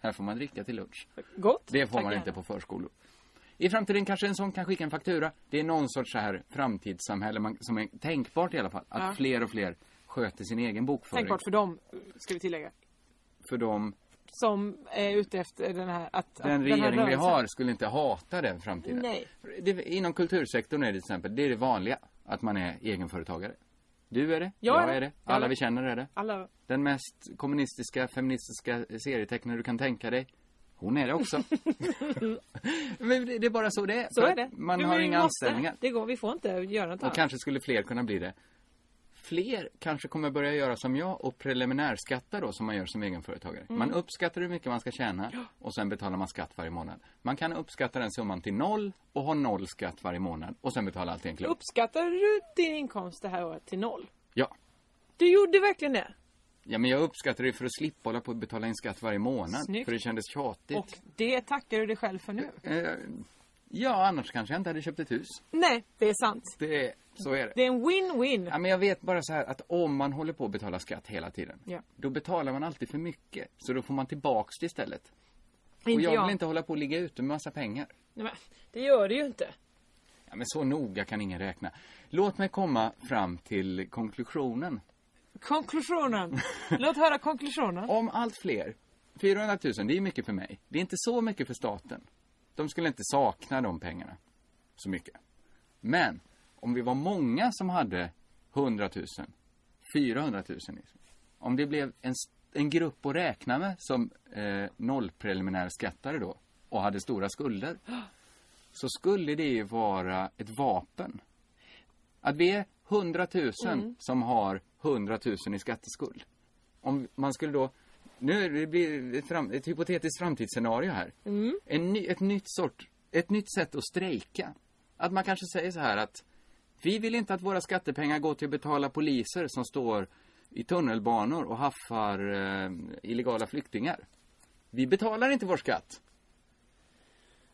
C: Här får man dricka till lunch.
B: (laughs) Gott.
C: Det får
B: Tack
C: man
B: gärna.
C: inte på förskolor. I framtiden kanske en sån kan skicka en faktura. Det är någon sorts så här framtidssamhälle man, som är tänkbart i alla fall. Att
B: Ja.
C: fler och fler sköter sin egen bokföring.
B: Tänkbart för dem, ska vi tillägga.
C: För de,
B: Som är ute efter den här... Att, att
C: den
B: här
C: regering vi
B: rörelsen-
C: har skulle inte hata den framtiden.
B: Nej.
C: Det, inom kultursektorn är det till exempel, det är det vanliga. Att man är egenföretagare. Du är det,
B: Jag är
C: är
B: det.
C: det,
B: Jag
C: alla
B: är
C: vi
B: det.
C: känner är det.
B: Alla...
C: Den mest kommunistiska, feministiska serietecknare du kan tänka dig. Hon är
B: (laughs)
C: det också. Men det det är bara så det är.
B: Så
C: För
B: är
C: att
B: det.
C: Man
B: Men
C: har
B: vi
C: inga
B: måste.
C: anställningar.
B: Det går, vi får inte göra något
C: Och
B: annat.
C: kanske skulle fler kunna bli det. Fler kanske kommer börja göra som jag och preliminärskatta då som man gör som egenföretagare.
B: Mm.
C: Man uppskattar hur mycket man ska tjäna och sen betalar man skatt varje månad. Man kan uppskatta den summan till noll och ha noll skatt varje månad och sen betala allt i en klump.
B: Uppskattar du din inkomst det här året till noll?
C: Ja.
B: Du gjorde verkligen det.
C: ja, men jag uppskattar det för att slippa hålla på och betala in skatt varje månad.
B: Snyggt.
C: För det kändes tjatigt.
B: Och det tackar du dig själv för nu.
C: Eh, ja, annars kanske jag inte hade köpt ett hus.
B: Nej, det är sant.
C: Det är, så är det.
B: Det är en win-win.
C: Ja, men jag vet bara så här att om man håller på att betala skatt hela tiden.
B: Ja.
C: Då betalar man alltid för mycket. Så då får man tillbaks det istället. och
B: Inte
C: jag,
B: jag.
C: vill inte hålla på och ligga ute med massa pengar.
B: Nej, men, det gör du ju inte.
C: Ja, men så noga kan ingen räkna. Låt mig komma fram till konklusionen.
B: Konklusionen.
C: (laughs)
B: Låt höra konklusionen.
C: Om allt fler, 400 000, det är mycket för mig. Det är inte så mycket för staten. De skulle inte sakna de pengarna så mycket. Men om vi var många som hade 100 000, 400 000, liksom. om det blev en, s- en grupp att räkna med som eh, nollpreliminärskattare då och hade stora skulder, så skulle det ju vara ett vapen. Att vi är 100 000
I: Mm.
C: som har 100 000 i skatteskuld. Om man skulle då... Nu är det- det blir ett, fram, ett hypotetiskt framtidsscenario här.
I: Mm.
C: En ny, ett, nytt sort, ett nytt sätt att strejka. Att man kanske säger så här att vi vill inte att våra skattepengar går till att betala poliser som står i tunnelbanor och haffar eh, illegala flyktingar. Vi betalar inte vår skatt.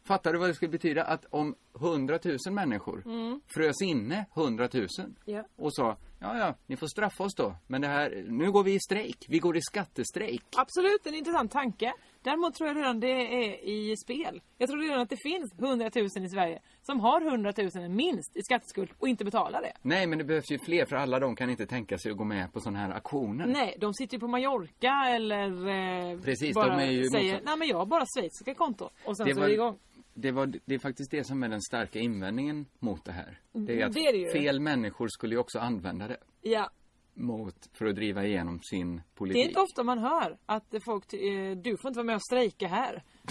C: Fattar du vad det skulle betyda att om 100 000 människor
I: Mm.
C: frös inne 100 000
I: Ja.
C: och sa ja, ja, ni får straffa oss då, men det här, nu går vi i strejk, vi går i skattestrejk.
B: Absolut en intressant tanke. Däremot tror jag redan det är i spel. Jag tror redan att det finns 100 000 i Sverige som har 100 000 minst i skatteskuld och inte betalar det.
C: Nej, men det behövs ju fler för alla de kan inte tänka sig att gå med på sådana här aktioner.
B: Nej, de sitter ju på Mallorca eller eh,
C: Precis,
B: bara
C: de är ju
B: säger
C: motsatt-
B: nej men jag har bara schweiziska konton och sen
C: Det
B: så
C: var-
B: är det igång.
C: Det, var, det är faktiskt det som är den starka invändningen mot det här. Det är att
B: Mm, Det är det ju.
C: fel människor skulle ju också använda det
B: Ja,
C: mot, för att driva igenom sin
B: det är
C: politik.
B: inte ofta man hör att folk ty- eh, du får inte vara med och strejka här. (laughs)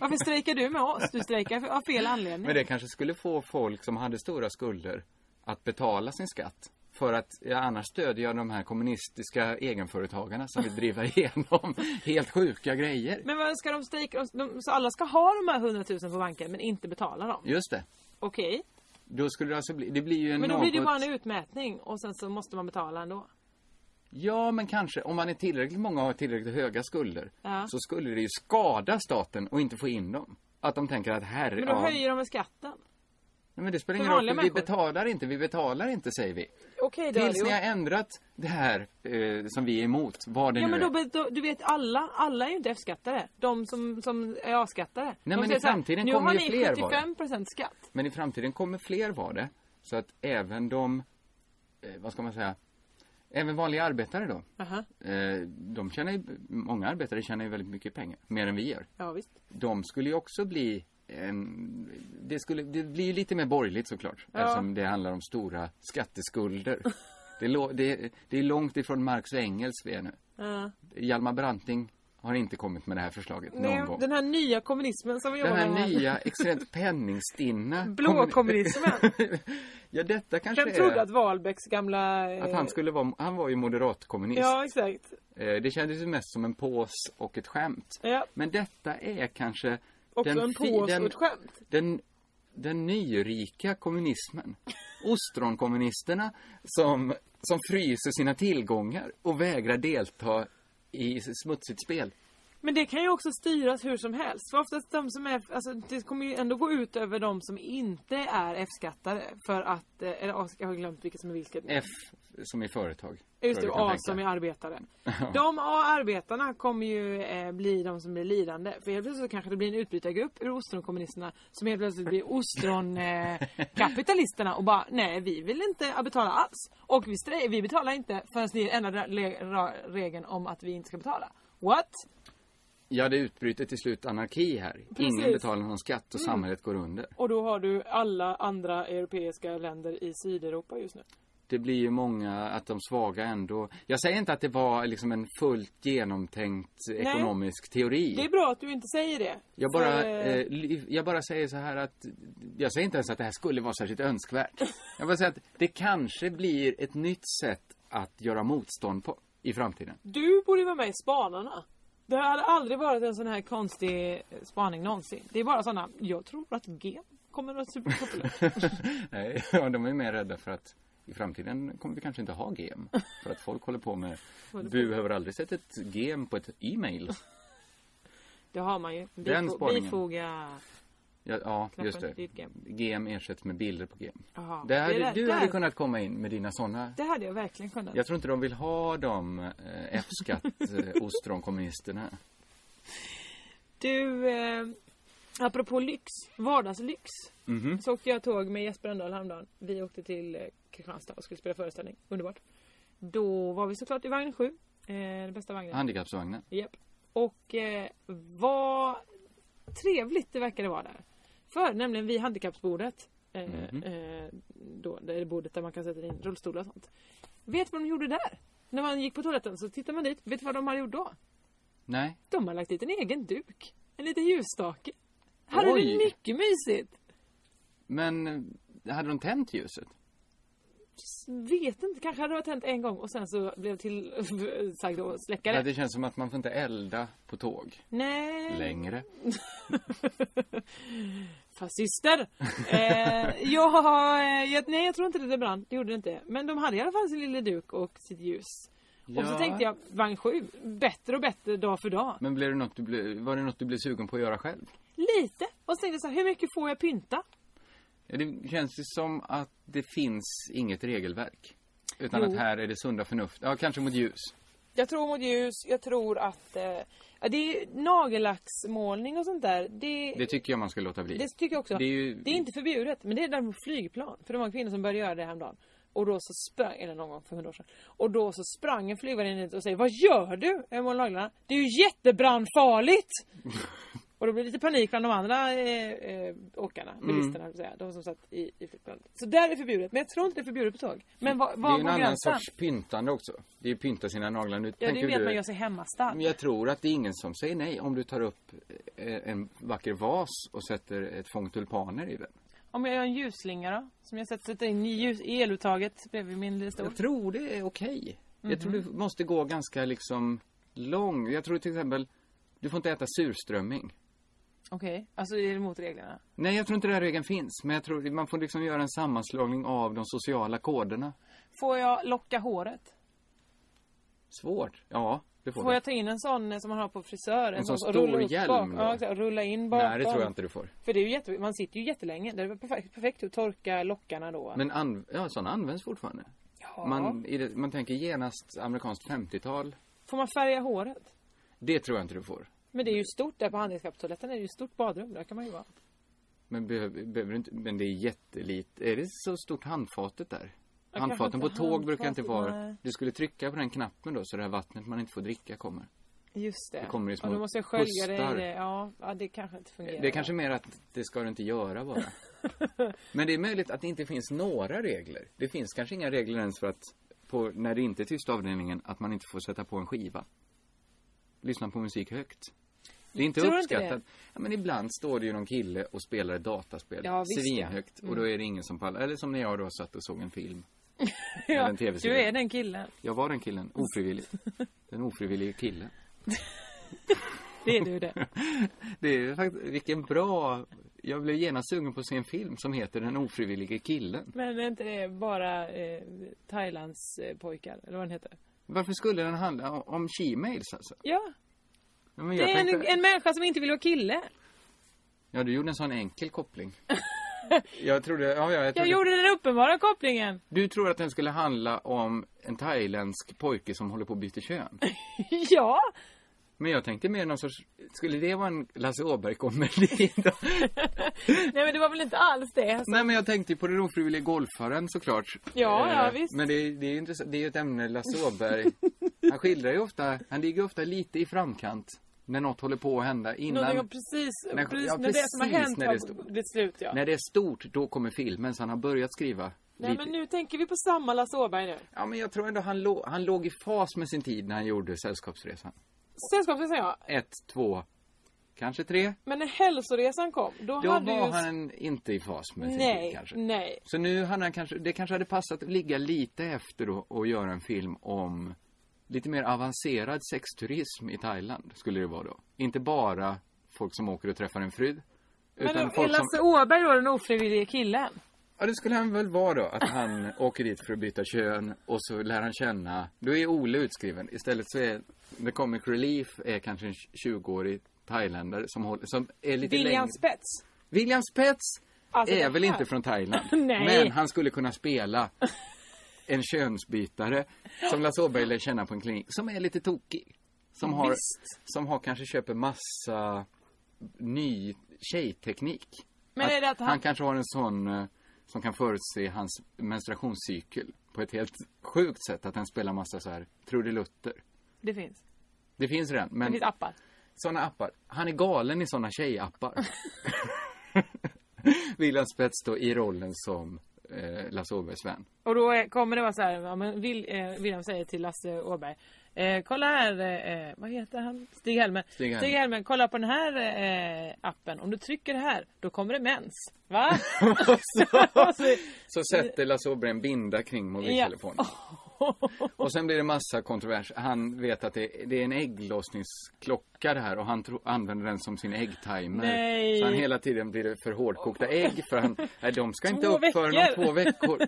B: Varför strejkar du med oss? Du strejkar för- av fel anledning.
C: Men det kanske skulle få folk som hade stora skulder att betala sin skatt. För att ja, annars stödjer jag de här kommunistiska egenföretagarna som vill driva (laughs) igenom helt sjuka grejer.
B: Men vad ska de strejka? De- De, så alla ska ha de här 100 000 på banken men inte betala dem?
C: Just det.
B: Okej.
C: Då skulle det alltså bli, det blir ju en
B: Men då blir det ju
C: något-
B: bara en utmätning och sen så måste man betala ändå.
C: Ja, men kanske. Om man är tillräckligt många och har tillräckligt höga skulder
B: Ja.
C: så skulle det ju skada staten och inte få in dem. Att de tänker att herre,
B: Men då
C: ja,
B: höjer de med skatten.
C: Nej, men det spelar
B: för
C: ingen roll,
B: vanliga
C: för vi
B: människor.
C: betalar inte, vi betalar inte, säger vi.
B: Okej då.
C: Tills
B: Aliot.
C: ni har ändrat det här eh, som vi är emot, vad det
B: Ja
C: nu
B: men då,
C: är.
B: be- då, du vet alla, alla är ju inte F-skattare. De som, som är A-skattare.
C: Nej,
B: de
C: men
B: säger
C: i
B: så här,
C: framtiden
B: nu
C: kommer ju fler
B: har
C: vara
B: ni 75%
C: det."
B: procent skatt.
C: Men i framtiden kommer fler vara det. Så att även de, eh, vad ska man säga, även vanliga arbetare då.
B: Aha.
C: Eh, de tjänar ju, många arbetare tjänar ju väldigt mycket pengar, mer än vi gör.
B: Ja visst.
C: De skulle ju också bli en, det, skulle, det blir ju lite mer borgerligt såklart.
B: Ja.
C: Eftersom det handlar om stora skatteskulder. det, lå- det, det är långt ifrån Marx och Engels vi är nu.
B: Ja.
C: Hjalmar Branting har inte kommit med det här förslaget någon gång.
B: Den här nya kommunismen som vi
C: Den
B: jobbar
C: här
B: med. (laughs)
C: nya, extremt penningstinna kommun-
B: Blåkommunismen.
C: (laughs) Ja, detta kanske
B: Vem trodde
C: är
B: att Wahlbecks gamla... eh,
C: att han skulle vara, han var ju moderatkommunist.
B: Ja exakt.
C: Eh, Det kändes ju mest som en pås och ett skämt.
B: Ja.
C: Men detta är kanske
B: Också
C: den
B: en
C: fi-
B: pås
C: den-
B: och ett skämt.
C: Den den
B: (laughs)
C: nyrika kommunismen. Ostronkommunisterna som, som fryser sina tillgångar och vägrar delta i smutsigt spel.
B: Men det kan ju också styras hur som helst. För oftast de som är, alltså, det kommer ju ändå gå ut över de som inte är F-skattare. För att, eh, eller A, jag har glömt vilket som är vilket.
C: F som i företag.
B: Just det, och
C: Tror jag vi kan
B: A
C: tänka.
B: som är arbetare. De A-arbetarna kommer ju eh, bli de som blir lidande. För helt plötsligt så kanske det blir en utbrytargrupp ur ostronkommunisterna som helt plötsligt blir
C: (laughs)
B: ostronkapitalisterna och bara nej vi vill inte betala alls. Och vi, strejk, vi betalar inte förrän ni ändrar le- ra- regeln om att vi inte ska betala. What?
C: Ja, det utbryter till slut anarki här.
B: Precis.
C: Ingen betalar någon skatt och
B: Mm.
C: samhället går under.
B: Och då har du alla andra europeiska länder i Sydeuropa just nu.
C: Det blir ju många, att de svaga ändå... Jag säger inte att det var liksom en fullt genomtänkt ekonomisk teori.
B: Det är bra att du inte säger det.
C: Jag bara,
B: För,
C: eh, li- jag bara säger så här att, jag säger inte ens att det här skulle vara
B: (laughs)
C: särskilt önskvärt. Jag bara säger att det kanske blir ett nytt sätt att göra motstånd på i framtiden.
B: Du borde ju vara med i Spanarna. Det hade aldrig varit en sån här konstig eh, spaning någonsin. Det är bara såna, jag tror att G kommer att bli
C: (laughs)
B: populärt.
C: Nej, ja, de är mer rädda för att i framtiden kommer vi kanske inte ha gem. För att folk håller på med,
B: Håller på.
C: du har aldrig sett ett gem på ett e-mail?
B: Det har man ju.
C: Den
B: Bifo-
C: spaningen.
B: Bifoga.
C: Ja, ja
B: Knappen,
C: just
B: det är
C: det.
B: ett gem.
C: Gem ersätts med bilder på gem.
B: Jaha,
C: Där
B: det
C: hade,
B: där-
C: du
B: där-
C: hade kunnat komma in med dina sådana
B: Det hade jag verkligen kunnat.
C: Jag tror inte de vill ha de eh,
B: (laughs)
C: F-skatt-ostronkommunisterna.
B: Du, eh, apropå lyx, vardagslyx.
C: Mhm.
B: Så åkte jag tåg med Jesper Rönndahl häromdagen. Vi åkte till eh, Kristianstad och skulle spela föreställning. Underbart. Då var vi såklart i vagn 7. Eh, den bästa vagnen.
C: Handikappsvagnen.
B: Japp. Och eh, vad trevligt det verkade vara där. För nämligen vid handikappsbordet. Eh,
C: Mhm.
B: eh, då, det är det bordet där man kan sätta in rullstolar och sånt. Vet vad de gjorde där? När man gick på toaletten så tittade man dit. Vet du vad de hade gjort då?
C: Nej.
B: De har lagt dit en egen duk. En liten ljusstake. Här är det
C: Oj.
B: mycket mysigt.
C: Men eh, hade de tänt ljuset?
B: Vet inte, kanske hade det varit hänt en gång och sen så blev till (laughs) sagt att släcka
C: Ja,
B: det.
C: det känns som att man får inte elda på tåg
B: Nej. (laughs)
C: längre.
B: Fascister! Eh, jag, har, eh, jag, nej, jag tror inte det brann. Det gjorde det inte. Men de hade i alla fall sin lilla duk och sitt ljus. Och så
C: Ja.
B: tänkte jag, vagn 7, bättre och bättre dag för dag.
C: Men blev det något du blev, var det något du blev sugen på att göra själv?
B: Lite! Och så tänkte jag så här, hur mycket får jag pynta?
C: Ja, det känns ju som att det finns inget regelverk. Utan
B: Jo.
C: att här är det sunda förnuft. Ja, kanske mot ljus.
B: Jag tror mot ljus, jag tror att... Eh, ja, det är nagellacksmålning och sånt där. Det,
C: Det tycker jag man ska låta bli.
B: Det tycker jag också.
C: Det är ju...
B: inte förbjudet, men det är däremot flygplan. För det var en kvinna som började göra det häromdagen. Och då så sprang, eller någon gång för hundra år sedan. Och då så sprang en flygvärdinna ut och säger Vad gör du? Jag målar naglarna. Det är ju
C: (laughs)
B: jättebrandfarligt! och då blev det lite panik bland de andra eh, eh, åkarna,
C: Mm.
B: bilisterna vill säga. De som satt i, i flygplanet. Så där är det förbjudet, men jag tror inte det är förbjudet på tåg. Men vad
C: det är
B: var
C: ju en
B: går
C: annan
B: gränsen?
C: sorts pyntande också. Det är ju pynta sina naglar. Nu
B: Ja, det är
C: tänker
B: ju mer att
C: du- Mm.
B: man gör sig hemmastark.
C: Men jag tror att det är ingen som säger nej om du tar upp eh, en vacker vas och sätter ett fång tulpaner i den.
B: Om jag gör en ljusslinga då? Som jag sätter sätter in i ljus, i eluttaget bredvid min lilla
C: (laughs)
B: stol.
C: Jag tror det är okej. Jag tror
B: Mm-hmm.
C: du måste gå ganska liksom lång. Jag tror till exempel, du får inte äta surströmming.
B: Okej, alltså är det mot reglerna?
C: Nej, jag tror inte den här regeln finns. Men jag tror man får liksom göra en sammanslagning av de sociala koderna.
B: Får jag locka håret?
C: Svårt. Ja, det får,
B: Får
C: du.
B: jag ta in en sån eh, som man har på frisör? En,
C: En sån
B: som
C: stor
B: rullar upp
C: hjälm
B: bak-
C: då?
B: Ja, exakt, och rulla in bakom.
C: Nej, det tror jag inte du får.
B: För det är ju jätte... man sitter ju jättelänge. Det är perfekt, perfekt att torka lockarna då.
C: Men anv- ja, sådana används fortfarande.
B: Ja.
C: Man, i det, man tänker genast amerikanskt 50-tal.
B: Får man färga håret?
C: Det tror jag inte du får.
B: Men det är ju stort där på handikapptoaletten. är Det är ju ett stort badrum. Där kan man ju vara.
C: Men, behöver, behöver du inte, men det är jättelit. Är det så stort handfatet där?
B: Ja,
C: Handfaten på
B: kanske
C: tåg
B: inte
C: brukar inte
B: handfatet,
C: vara...
B: nej.
C: Du skulle trycka på den knappen då så det här vattnet man inte får dricka kommer.
B: Just det.
C: Det kommer ju små
B: och då måste jag skölja det i
C: pustar.
B: det. Ja, ja, det kanske inte fungerar.
C: Det är kanske mer att det ska du inte
B: (laughs)
C: göra bara. men det är möjligt att det inte finns några regler. Det finns kanske inga regler ens för att på, när det inte är tysta avdelningen att man inte får sätta på en skiva. Lyssna på musik högt. Det är inte
B: Tror du inte
C: uppskattat.
B: det?
C: ja, men ibland står det ju någon kille och spelar ett dataspel.
B: Ja, visst, ja.
C: Svinhögt. Och då
B: Mm.
C: är det ingen som pallar. Eller som när jag då satt och såg en film.
B: (laughs) ja,
C: eller en
B: Du
C: TV-serie.
B: är den killen.
C: Jag var den killen,
B: (laughs)
C: ofrivilligt. Den ofrivillige killen.
B: Det är du det.
C: Det är faktiskt, vilken bra jag blev genast sugen på att se en film som heter Den ofrivillige killen.
B: Men är inte det bara eh, Thailands eh, pojkar, eller vad den heter?
C: Varför skulle den handla o- om she-mails alltså?
B: Ja,
C: Ja, men
B: det
C: jag
B: är en,
C: tänkte-
B: en människa som inte vill vara kille.
C: Ja, du gjorde en sån enkel koppling. jag trodde, ja, ja, jag
B: Jag
C: trodde...
B: gjorde den uppenbara kopplingen.
C: Du tror att den skulle handla om en thailändsk pojke som håller på att byta kön.
B: ja,
C: Men jag tänkte mer någon sorts, skulle det vara en Lasse Åberg-komedi?
B: (laughs) nej men det var väl inte alls det. Alltså.
C: Nej men jag tänkte ju på den ofrivilliga golfaren såklart.
B: Ja, ja,
C: Eh,
B: visst.
C: Men det, är- det är ju intressant, det är ju ett ämne
B: (laughs)
C: Lasse Åberg. han skildrar ju ofta, han ligger ofta lite i framkant. När något håller på att hända innan.
B: Någonting om precis,
C: när-
B: precis,
C: ja,
B: när det som har
C: precis
B: hänt
C: när det är
B: har
C: stort.
B: blivit slut. Ja.
C: När det är stort, då kommer filmen. Så han har börjat skriva.
B: Nej
C: lite.
B: men nu tänker vi på samma Lasse Åberg nu.
C: Ja men jag tror ändå han, lå- han låg i fas med sin tid när han gjorde Sällskapsresan.
B: Sällskapsresan ja.
C: Ett, två, kanske tre.
B: Men när hälsoresan kom, då,
C: Då
B: hade
C: var
B: ju...
C: han inte i fas med sin
B: nej,
C: tid kanske.
B: nej.
C: Så nu hade han kanske, det kanske hade passat att ligga lite efter då och göra en film om lite mer avancerad sexturism i Thailand skulle det vara då. Inte bara folk som åker och träffar en fru. Utan
B: Men då, är
C: folk
B: Lasse
C: som,
B: Åberg då den ofrivillige killen?
C: ja det skulle han väl vara då, att han (laughs) åker dit för att byta kön och så lär han känna, då är Ole utskriven. Istället så är The Comic Relief är kanske en 20-årig thailändare som, håller, som är lite
B: William
C: längre.
B: Spets?
C: William Spets
B: Alltså, det
C: är väl
B: här-
C: inte från Thailand.
B: (laughs) Nej.
C: Men han skulle kunna spela en könsbytare som Lasse Åberg lär känna på en klinik. Som är lite tokig. Som har,
B: Visst.
C: som har kanske köper massa ny tjejteknik.
B: Men är det att han-
C: kanske har en sån eh, som kan förutse hans menstruationscykel på ett helt sjukt sätt. Att han spelar massa så här trudelutter.
B: Det finns.
C: Det finns redan. Men
B: Det finns appar.
C: såna appar. Han är galen i såna tjejappar. William Spets då i rollen som eh, Lasse Åbergs vän.
B: Och då är, kommer det vara så här, ja, men Will, eh, William säger till Lasse Åberg. Eh, kolla här, eh, vad heter han? Stig Helmer.
C: Stig Helmer.
B: Helmer, kolla på den här eh, appen. Om du trycker här, då kommer det mens.
C: (laughs)
B: Va?
C: Så sätter Lasse Åberg en binda kring mobiltelefonen. Och sen blir det massa kontrovers. Han vet att det, det är en ägglossningsklocka det här och han tro, använder den som sin äggtimer.
B: Nej.
C: Så han hela tiden blir det för hårdkokta ägg för han, nej de ska inte
B: Två
C: upp förrän om
B: veckor.
C: två veckor.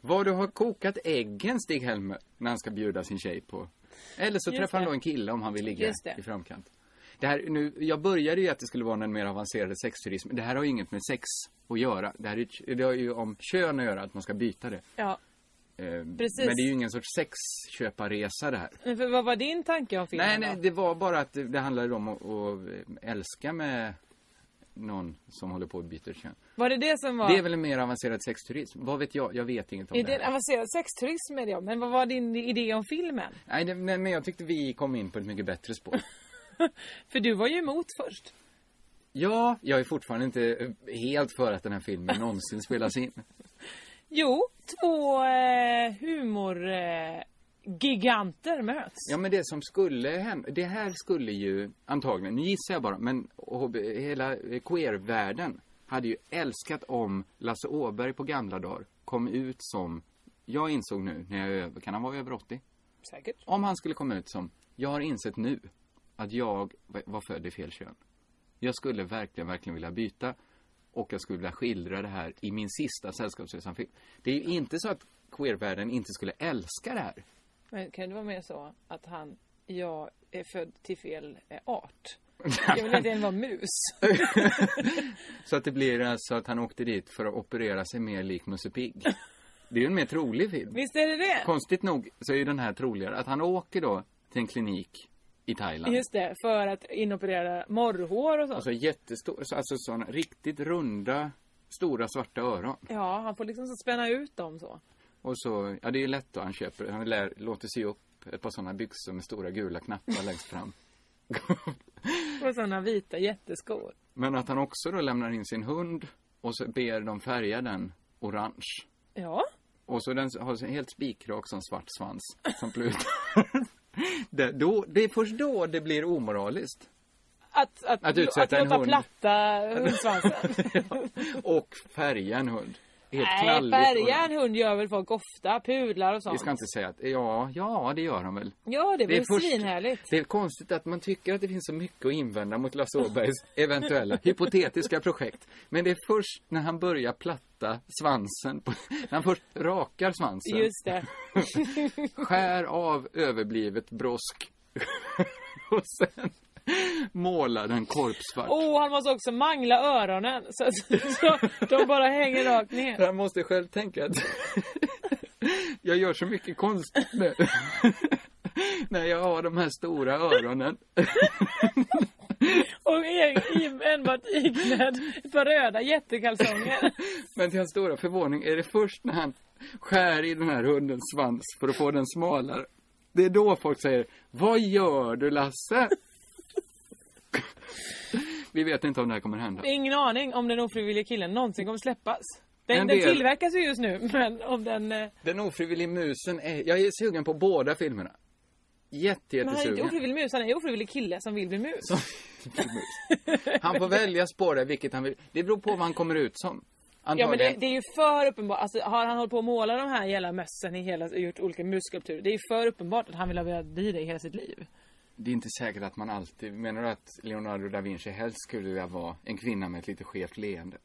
C: Vad du har kokat äggen Stig-Helmer när han ska bjuda sin tjej på. Eller så
B: Just
C: träffar han
B: det.
C: då en kille om han vill ligga
B: Just det.
C: i framkant. Det här, nu, jag började ju att det skulle vara en mer avancerad sexturism. Det här har ju inget med sex att göra. Det här är, det har ju om kön att göra, att man ska byta det.
B: (laughs) ja.
C: Eh,
B: Precis.
C: Men det är ju ingen sorts sexköparresa det här.
B: Men för, vad var din tanke om filmen
C: Nej,
B: då?
C: nej, det var bara att det, det handlade om att, att älska med någon som håller på att byta kön.
B: Var det det som var?
C: Det är väl en mer avancerad sexturism? Vad vet jag? Jag vet inget om
B: Är
C: det
B: det en
C: här.
B: avancerad sexturism är det, men vad var din idé om filmen?
C: Nej, det, nej, men jag tyckte vi kom in på ett mycket
B: (laughs)
C: bättre spår.
B: För du var ju emot först.
C: ja, jag är fortfarande inte helt för att den här filmen någonsin spelas in.
B: Jo, två eh, humorgiganter eh, giganter möts.
C: Ja men det som skulle hända, det här skulle ju antagligen, nu gissar jag bara, men HB, hela eh, queervärlden hade ju älskat om Lasse Åberg på gamla dagar kom ut som, jag insåg nu när jag är över, kan han vara över 80?
B: Säkert.
C: Om han skulle komma ut som, jag har insett nu att jag v- var född i fel kön. Jag skulle verkligen, verkligen vilja byta och jag skulle vilja skildra det här i min sista Sällskapsresan-film. Det är ju inte så att queervärlden inte skulle älska det här.
B: Men kan det vara mer så att han, jag är född till fel eh,
C: (laughs)
B: art? Jag vill inte ens vara mus.
C: (laughs) Så att det blir alltså att han åkte dit för att operera sig mer lik Musse Pigg. Det är ju en mer trolig film.
B: Visst är det det?
C: Konstigt nog så är ju den här troligare. Att han åker då till en klinik i Thailand.
B: Just det, för att inoperera morrhår och sånt.
C: Alltså jättestor, så- alltså sådana riktigt runda, stora svarta öron.
B: Ja, han får liksom så spänna ut dem så.
C: Och så, ja det är ju lätt då han köper, han lär, låter sy upp ett par sådana byxor med stora gula knappar längst fram. (laughs)
B: Och sådana vita jätteskor.
C: Men att han också då lämnar in sin hund och så ber dem färga den orange.
B: Ja.
C: Och så den har en helt spikrak som svart svans
B: (laughs)
C: som plutar. det, då, det är först då det
B: (laughs)
C: blir omoraliskt.
B: Att, att,
C: Att utsätta en
B: låta
C: hund.
B: platta hundsvansen.
C: Och färga en hund. (laughs) helt
B: Nej,
C: knalligt. och-
B: färga en hund gör väl folk ofta. Pudlar och sånt.
C: Vi ska inte säga att, ja, ja det gör de väl.
B: Ja, det är
C: Det är
B: väl
C: först-
B: svinhärligt.
C: Det är konstigt att man tycker att det finns så mycket att invända mot Lasse Åbergs eventuella hypotetiska projekt. Men det är först när han börjar platta svansen, på, när han först rakar svansen,
B: Just det.
C: skär av överblivet brosk (laughs) och sen målar den korpsvart.
B: Och han måste också mangla öronen. Så, så,
C: (laughs)
B: så de bara hänger rakt ner.
C: Han måste själv tänka att (laughs) jag gör så mycket konstigt nu. (laughs) När jag har de här stora öronen. (laughs)
B: Och Erik i- enbart iklädd ett par röda jättekalsonger.
C: Men till hans stora förvåning är det först när han skär i den här hundens svans för att få den smalare. Det är då folk säger Vad gör du Lasse? (laughs) Vi vet inte om det här kommer hända.
B: Ingen aning om den ofrivilliga killen någonsin kommer släppas. Den,
C: En
B: den
C: del.
B: tillverkas ju just nu, men om den... eh,
C: Den ofrivilliga musen är... Jag är sugen på båda filmerna. Jätte,
B: Men han är inte
C: jättesugen.
B: ofrivillig mus, han är en ofrivillig kille som vill bli mus.
C: (laughs) Han får välja spåra vilket han vill. Det beror på vad han kommer ut som.
B: Ja men
C: Antagligen.
B: det, det är ju för uppenbart. Alltså, har han hållit på att måla de här jävla mössen i hela, och gjort olika musskulpturer. Det är ju för uppenbart att han vill ha velat bli det i hela sitt liv.
C: Det är inte säkert att man alltid... Menar du att Leonardo da Vinci helst skulle vilja vara en kvinna med ett lite skevt leende?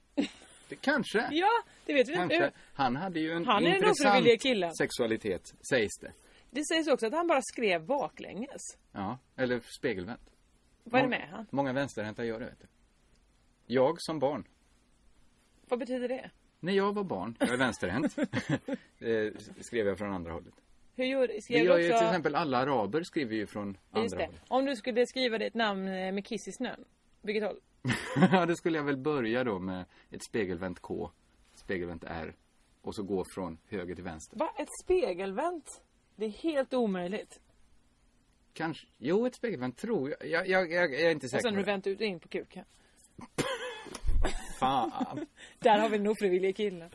C: Det kanske.
B: (laughs) Ja, det vet vi
C: Kanske.
B: inte.
C: Han hade ju en
B: Han är den
C: intressant
B: ofrivilliga killen.
C: sexualitet, sägs det.
B: Det sägs också att han bara skrev baklänges.
C: Ja, eller spegelvänt.
B: Vad är det
C: Mång-
B: med han?
C: Många vänsterhänta gör det, vet du. Jag som barn.
B: Vad betyder det?
C: När jag var barn, jag
B: (laughs)
C: är vänsterhänt, eh, skrev jag från andra hållet.
B: Hur gör,
C: Det
B: skrev
C: gör
B: du
C: ju
B: också...
C: till exempel alla araber skriver ju från
B: Just
C: andra
B: det.
C: hållet. (laughs)
B: Om du skulle skriva ditt namn eh, med kiss i snön. Vilket håll?
C: Ja, då skulle jag väl börja då med ett spegelvänt K, spegelvänt R och så gå från höger till vänster.
B: Va? Ett spegelvänt? Det är helt omöjligt.
C: Kanske, jo ett spegelvänt tror jag, jag, jag, jag, jag är inte
B: Och
C: säker
B: sen Alltså,
C: på
B: du
C: det.
B: vänt ut och in på kuken.
C: Fan.
B: Där har vi den ofrivilliga killen.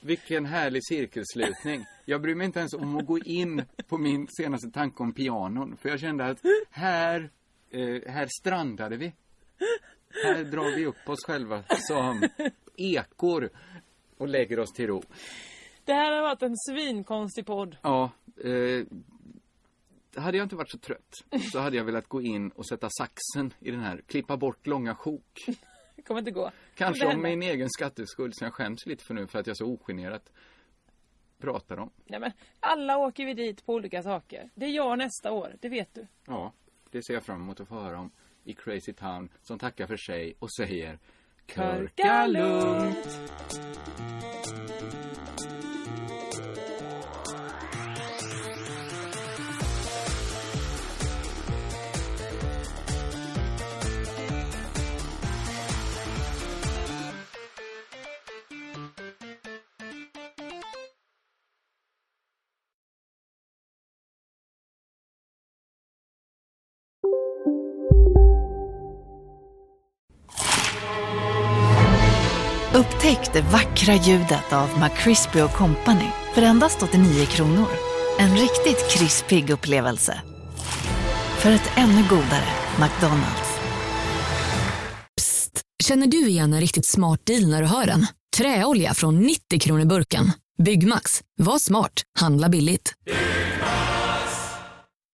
C: Vilken härlig cirkelslutning. Jag bryr mig inte ens om att gå in på min senaste tanke om pianon. För jag kände att här, eh, här strandade vi. Här drar vi upp oss själva som ekor och lägger oss till ro.
B: Det här har varit en svinkonstig podd.
C: Ja, eh, hade jag inte varit så trött så hade jag velat gå in och sätta saxen i den här, klippa bort långa sjok.
B: Det kommer inte gå.
C: Kanske
B: Det
C: om
B: händer.
C: min egen skatteskuld som jag skäms lite för nu för att jag så ogenerat pratar om.
B: Nej, men alla åker vi dit på olika saker. Det är jag nästa år, det vet du.
C: Ja, det ser jag fram emot att få höra om i Crazy Town som tackar för sig och säger Körka lugnt!
I: Upptäck det vackra ljudet av McCrispy Company för endast 89 kronor. En riktigt krispig upplevelse. För ett ännu godare McDonalds.
J: Känner du igen en riktigt smart deal när du hör den? Träolja från 90 kronor burken. Byggmax, var smart, handla billigt.